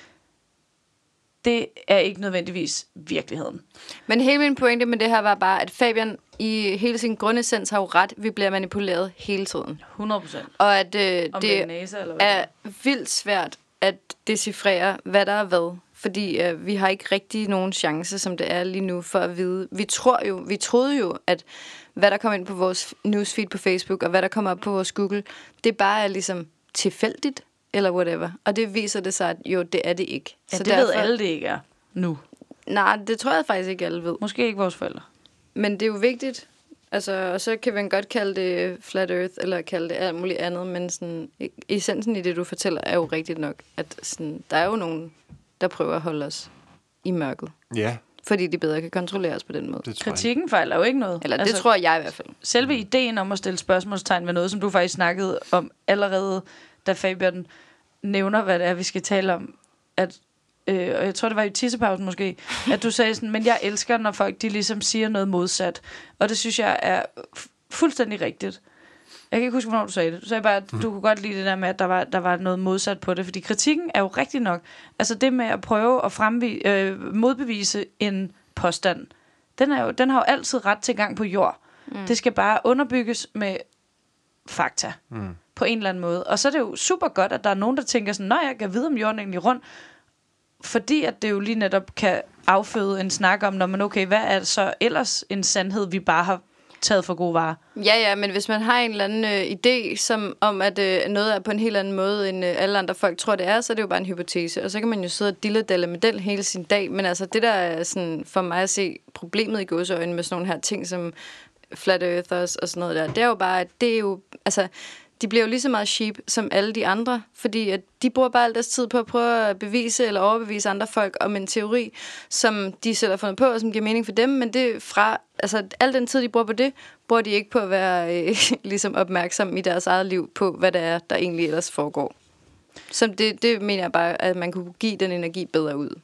S2: Det er ikke nødvendigvis virkeligheden.
S3: Men hele min pointe med det her var bare, at Fabian i hele sin grundessens har jo ret. Vi bliver manipuleret hele tiden.
S2: 100%.
S3: Og at øh,
S2: Om det, er
S3: det,
S2: næse eller hvad det
S3: er vildt svært at decifrere, hvad der er hvad. Fordi øh, vi har ikke rigtig nogen chance, som det er lige nu, for at vide. Vi tror jo, vi troede jo, at hvad der kommer ind på vores newsfeed på Facebook, og hvad der kommer op på vores Google, det bare er ligesom tilfældigt, eller whatever. Og det viser det sig, at jo, det er det ikke.
S2: Ja, det ved alle, det ikke er nu.
S3: Nej, det tror jeg faktisk ikke, alle ved.
S2: Måske ikke vores forældre.
S3: Men det er jo vigtigt. Altså, og så kan man godt kalde det flat earth, eller kalde det alt muligt andet, men sådan, i- essensen i det, du fortæller, er jo rigtigt nok, at sådan, der er jo nogen, der prøver at holde os i mørket.
S4: Ja.
S3: fordi de bedre kan kontrolleres på den måde.
S1: Det tror jeg.
S2: Kritikken fejler jo ikke noget.
S3: Eller altså, det tror jeg i hvert fald.
S2: Selve ideen om at stille spørgsmålstegn ved noget, som du faktisk snakkede om allerede, da Fabian nævner, hvad det er, vi skal tale om, at øh, og jeg tror, det var i tissepausen måske, at du sagde sådan, men jeg elsker, når folk de ligesom siger noget modsat. Og det synes jeg er fu- fuldstændig rigtigt. Jeg kan ikke huske, hvornår du sagde det. Du sagde bare, at du kunne godt lide det der med, at der var, der var noget modsat på det. Fordi kritikken er jo rigtig nok. Altså det med at prøve at fremvi- øh, modbevise en påstand, den, er jo, den har jo altid ret til gang på jord. Mm. Det skal bare underbygges med fakta mm. på en eller anden måde. Og så er det jo super godt, at der er nogen, der tænker sådan, nej, jeg kan vide, om jorden er egentlig rundt fordi at det jo lige netop kan afføde en snak om, når man okay, hvad er så ellers en sandhed, vi bare har taget for gode varer?
S3: Ja, ja, men hvis man har en eller anden øh, idé som, om, at øh, noget er på en helt anden måde, end øh, alle andre folk tror, det er, så er det jo bare en hypotese. Og så kan man jo sidde og dille med den hele sin dag. Men altså, det der er sådan, for mig at se problemet i gåseøjne med sådan nogle her ting, som flat earthers og sådan noget der, det er jo bare, at det er jo, altså, de bliver jo lige så meget sheep som alle de andre, fordi at de bruger bare al deres tid på at prøve at bevise eller overbevise andre folk om en teori, som de selv har fundet på, og som giver mening for dem, men det fra, altså al den tid, de bruger på det, bruger de ikke på at være øh, ligesom opmærksomme i deres eget liv på, hvad det er, der egentlig ellers foregår. Så det, det mener jeg bare, at man kunne give den energi bedre ud.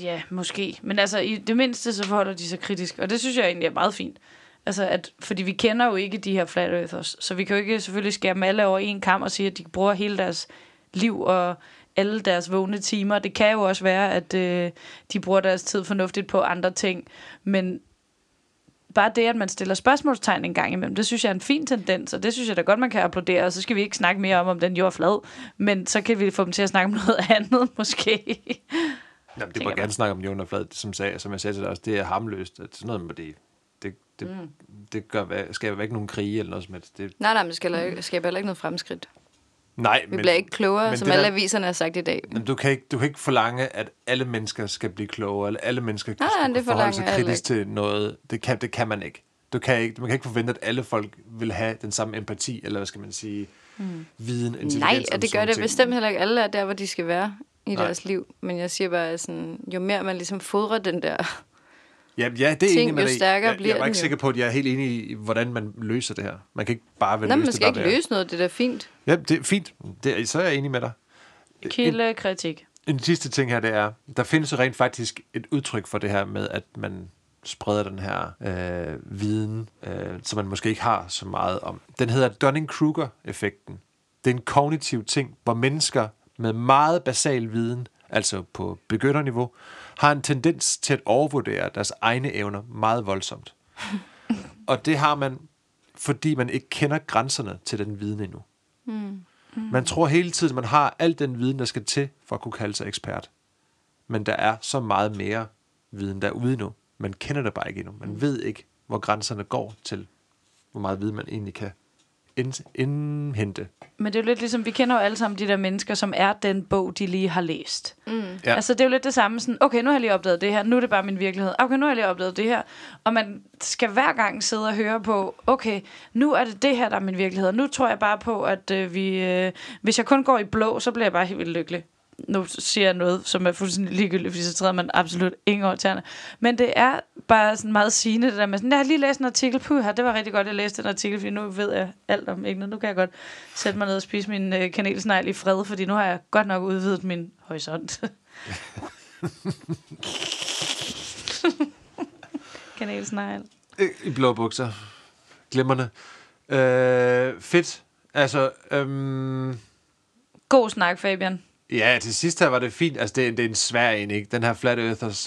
S2: Ja, måske. Men altså, i det mindste, så forholder de sig kritisk, og det synes jeg egentlig er meget fint. Altså, at, fordi vi kender jo ikke de her flat earthers, så vi kan jo ikke selvfølgelig skære dem alle over en kamp og sige, at de bruger hele deres liv og alle deres vågne timer. Det kan jo også være, at øh, de bruger deres tid fornuftigt på andre ting, men bare det, at man stiller spørgsmålstegn en gang imellem, det synes jeg er en fin tendens, og det synes jeg da godt, man kan applaudere, og så skal vi ikke snakke mere om, om den jord er flad, men så kan vi få dem til at snakke om noget andet, måske.
S1: Jamen, det må
S2: tænker
S1: jeg gerne snakke om Jon og Flad, som, sagde, som jeg sagde til dig også, det er harmløst. At sådan noget med det, det, det, mm. det gør, hvad- skaber ikke nogen krige eller noget som helst. Det,
S3: Nej, nej, men det skal mm. skaber heller ikke noget fremskridt.
S1: nej,
S3: Vi men, bliver ikke klogere,
S1: men
S3: som
S1: det der-
S3: alle aviserne har sagt i dag.
S1: Jamen, du, kan ikke, du kan ikke forlange, at alle mennesker skal blive klogere, eller alle mennesker
S3: Nej, nej, det
S1: forholde sig
S3: forlanger jeg
S1: kritisk til noget. Det kan, det kan man ikke. Du kan ikke. Man kan ikke forvente, at alle folk vil have den samme empati, eller hvad skal man sige, mm. viden, intelligens.
S3: Hmm. Nej,
S1: om
S3: og det
S1: sådan
S3: gør det
S1: ting.
S3: bestemt heller ikke. Alle er der, hvor de skal være i
S1: Nej.
S3: Nej. deres liv. Men jeg siger bare, at sådan, jo mere man ligesom fodrer den der...
S1: Ja, ja det er
S3: Ting,
S1: enig med
S3: jo
S1: dig i.
S3: stærkere
S1: jeg,
S3: bliver
S1: jeg var
S3: den
S1: ikke
S3: jo.
S1: sikker på, at jeg er helt enig i, hvordan man løser det her. Man kan ikke bare vel
S3: Nå,
S1: løse
S3: man
S1: det,
S3: skal
S1: der
S3: ikke
S1: det er.
S3: løse noget, det er da fint.
S1: Ja, det er fint. Det, er- så er jeg enig med dig.
S2: Kilde kritik.
S1: En sidste ting her, det er, der findes jo rent faktisk et udtryk for det her med, at man spreder den her øh, viden, øh, som man måske ikke har så meget om. Den hedder Dunning-Kruger-effekten. Det er en kognitiv ting, hvor mennesker med meget basal viden, altså på begynderniveau, har en tendens til at overvurdere deres egne evner meget voldsomt. Og det har man, fordi man ikke kender grænserne til den viden endnu. Mm. Man tror hele tiden, man har al den viden, der skal til for at kunne kalde sig ekspert. Men der er så meget mere viden derude nu. Man kender det bare ikke endnu.
S3: Mm.
S1: Man ved ikke, hvor grænserne går til, hvor meget viden man egentlig kan ind- indhente.
S3: Mm.
S2: Men det er jo lidt ligesom, vi kender jo alle sammen de der mennesker, som er den bog, de lige har læst. Mm.
S1: Ja.
S2: Ja. Altså det er jo lidt det samme, sådan, okay, nu har jeg lige opdaget det her, nu er det bare min virkelighed, okay, nu har jeg lige opdaget det her. Og man skal hver gang sidde og høre på, okay, nu er det det her, der er min virkelighed, og nu tror jeg bare på, at øh, vi, øh, hvis jeg kun går i blå, så bliver jeg bare helt vildt lykkelig. Nu siger jeg noget, som er fuldstændig ligegyldigt, fordi så træder man absolut ingen over tæerne. Men det er bare sådan meget sigende, det der med sådan, jeg har lige læst en artikel, puh, det var rigtig godt, jeg læste den artikel, fordi nu ved jeg alt om emnet. Nu kan jeg godt sætte mig ned og spise min øh, kanelsnegl i fred, fordi nu har jeg godt nok udvidet min horisont. kanelsnegl.
S1: Øh, I blå bukser. Glemmerne. Øh, fedt. Altså, øhm,
S2: God snak, Fabian.
S1: ja, til sidst her var det fint. Altså, det, er- det er en svær en, ikke? Den her flat earthers.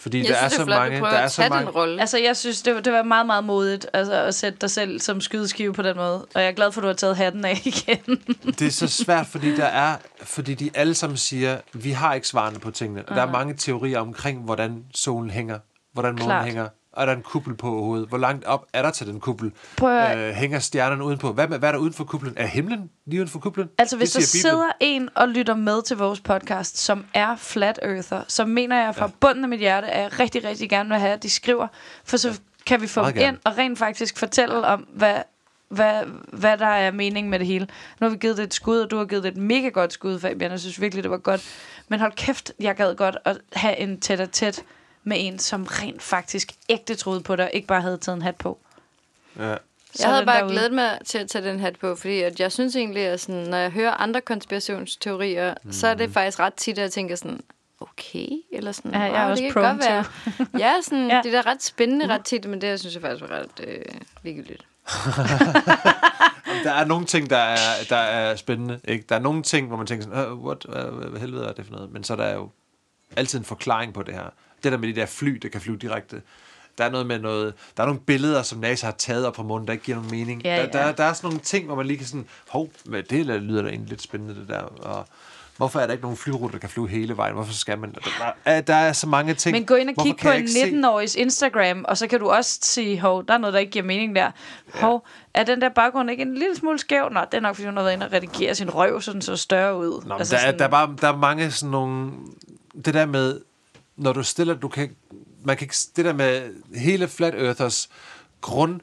S1: Fordi
S3: Jeg
S1: der
S3: synes,
S1: er
S3: det
S1: så
S3: er flot,
S1: mange...
S3: du prøver
S1: der er
S3: at
S1: så
S3: tage
S1: mange,
S3: den rolle.
S2: Altså, jeg synes, det var, det var meget, meget modigt altså, at sætte dig selv som skydeskive på den måde. Og jeg er glad for, at du har taget hatten af igen.
S1: Det er så svært, fordi der er, fordi de alle sammen siger, vi har ikke svarene på tingene. Uh-huh. Der er mange teorier omkring, hvordan solen hænger, hvordan månen
S2: Klart.
S1: hænger, og er der en kuppel på hovedet? Hvor langt op er der til den kuppel?
S2: Prøv at-
S1: Øh, hænger stjernerne udenpå? Hvad, med- hvad er der uden for kuplen? Er himlen lige uden for kuplen?
S2: Altså,
S1: Det
S2: hvis der
S1: siger Bibelen.
S2: sidder en og lytter med til vores podcast, som er flat earther, så mener jeg fra ja. bunden af mit hjerte, at jeg rigtig, rigtig gerne vil have, at de skriver. For så ja. kan vi få
S1: Meget
S2: dem
S1: gerne.
S2: ind og rent faktisk fortælle om, hvad, hvad, hvad der er mening med det hele. Nu har vi givet det et skud, og du har givet det et mega godt skud, Fabian. Jeg synes virkelig, det var godt. Men hold kæft, jeg gad godt at have en tæt og tæt med en, som rent faktisk ægte troede på dig, og ikke bare havde taget en hat på.
S1: Ja.
S2: Altså, Så
S3: Jeg
S2: er
S3: havde
S2: den
S3: bare
S2: derude.
S3: glædet mig til at tage den hat på, fordi at jeg synes egentlig, at sådan, når jeg hører andre konspirationsteorier, mm. så er
S1: Mhm.
S3: det faktisk ret tit, at jeg tænker sådan, okay, eller sådan,
S2: Ja, jeg er
S3: wow,
S2: også
S3: det kan
S2: prone
S3: godt
S2: to.
S3: være. ja, sådan,
S2: Ja.
S3: ja. det er da ret spændende ret tit, men det her synes jeg faktisk var ret øh, ligegyldigt.
S1: Der er nogle ting, der er, der er spændende. Ikke? Der er nogle ting, hvor man tænker sådan, uh, what, uh, hvad helvede er det for noget? Men så er der jo altid en forklaring på det her. Det der med de der fly, der kan flyve direkte. Der er noget med noget... Der er nogle billeder, som NASA har taget op på månen, der ikke giver nogen mening.
S2: Ja,
S1: der,
S2: ja.
S1: Der, er- der, er sådan nogle ting, hvor man lige kan sådan... Hov, men det lyder da egentlig lidt spændende, det der. Og hvorfor er der ikke nogen flyruter, der kan flyve hele vejen? Hvorfor skal man... Der er, der er så mange ting.
S2: Men gå ind og
S1: Hvorfor
S2: kig
S1: kan
S2: på
S1: jeg
S2: en
S1: ikke se-
S2: 19-årigs Instagram, og så kan du også sige, hov, der er noget, der ikke giver mening der. Hov, er den der baggrund ikke en lille smule skæv? Nå, det er nok, fordi hun har været inde og redigere sin røv, så den så større ud.
S1: Nå, altså der, sådan...
S2: sådan,
S1: der, er bare, der er mange sådan nogle... Det der med, når du stiller... Du kan, man kan ikke, det der med hele Flat Earthers grund...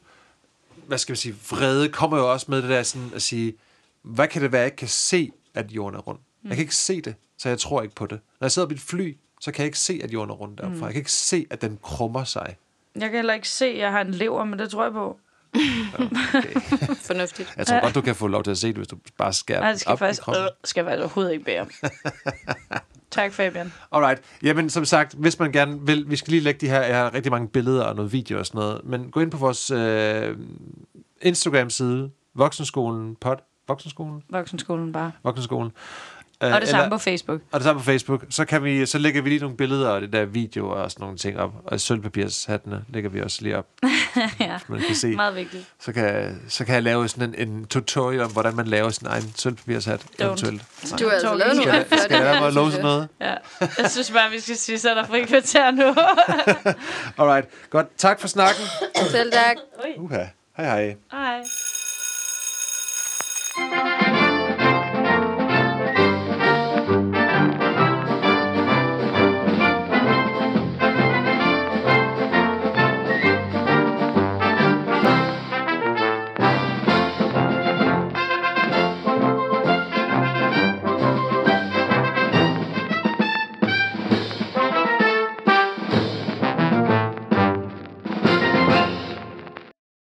S1: Hvad skal man sige? Vrede kommer jo også med det der sådan at sige... Hvad kan det være, jeg ikke kan se, at jorden er rund? Mm. Jeg kan ikke se det, så jeg tror ikke på det. Når jeg sidder på et fly, så kan jeg ikke se, at jorden er rund deroppe. Mm. Jeg kan ikke se, at den krummer sig.
S2: Jeg kan heller ikke se, at jeg har en lever, men det tror jeg på.
S3: Fornuftigt.
S1: Jeg tror godt, du kan få lov til at se det, hvis du bare skærer
S2: Nej, det skal
S1: den
S2: jeg faktisk,
S1: kroppen.
S2: øh, skal jeg faktisk overhovedet ikke bære. tak, Fabian.
S1: Alright. Jamen, som sagt, hvis man gerne vil, vi skal lige lægge de her, jeg har rigtig mange billeder og noget video og sådan noget, men gå ind på vores øh, Instagram-side, Voksenskolen Pod, Voksenskolen?
S2: Voksenskolen bare.
S1: Voksenskolen. Øh,
S2: Og det samme på Facebook.
S1: og det samme på Facebook. Så, kan vi, så lægger vi lige nogle billeder og det der video og sådan nogle ting op. Og sølvpapirshattene lægger vi også lige op,
S2: ja,
S1: så man kan se.
S2: meget vigtigt.
S1: Så kan, så kan jeg lave sådan en, en tutorial om, hvordan man laver sin egen sølvpapirshat. eventuelt.
S3: Du har altså
S2: Torben.
S3: lavet nogle
S1: Skal,
S3: ret flotte
S1: skal jeg lade mig
S3: billeder,
S1: at love
S3: synes
S1: sådan noget?
S2: Ja. Jeg synes bare, vi skal sige, så er der fri kvarter nu.
S1: Alright. Godt. Tak for snakken.
S3: jeg. Selv tak.
S1: Uha. Hej hej.
S2: Hej.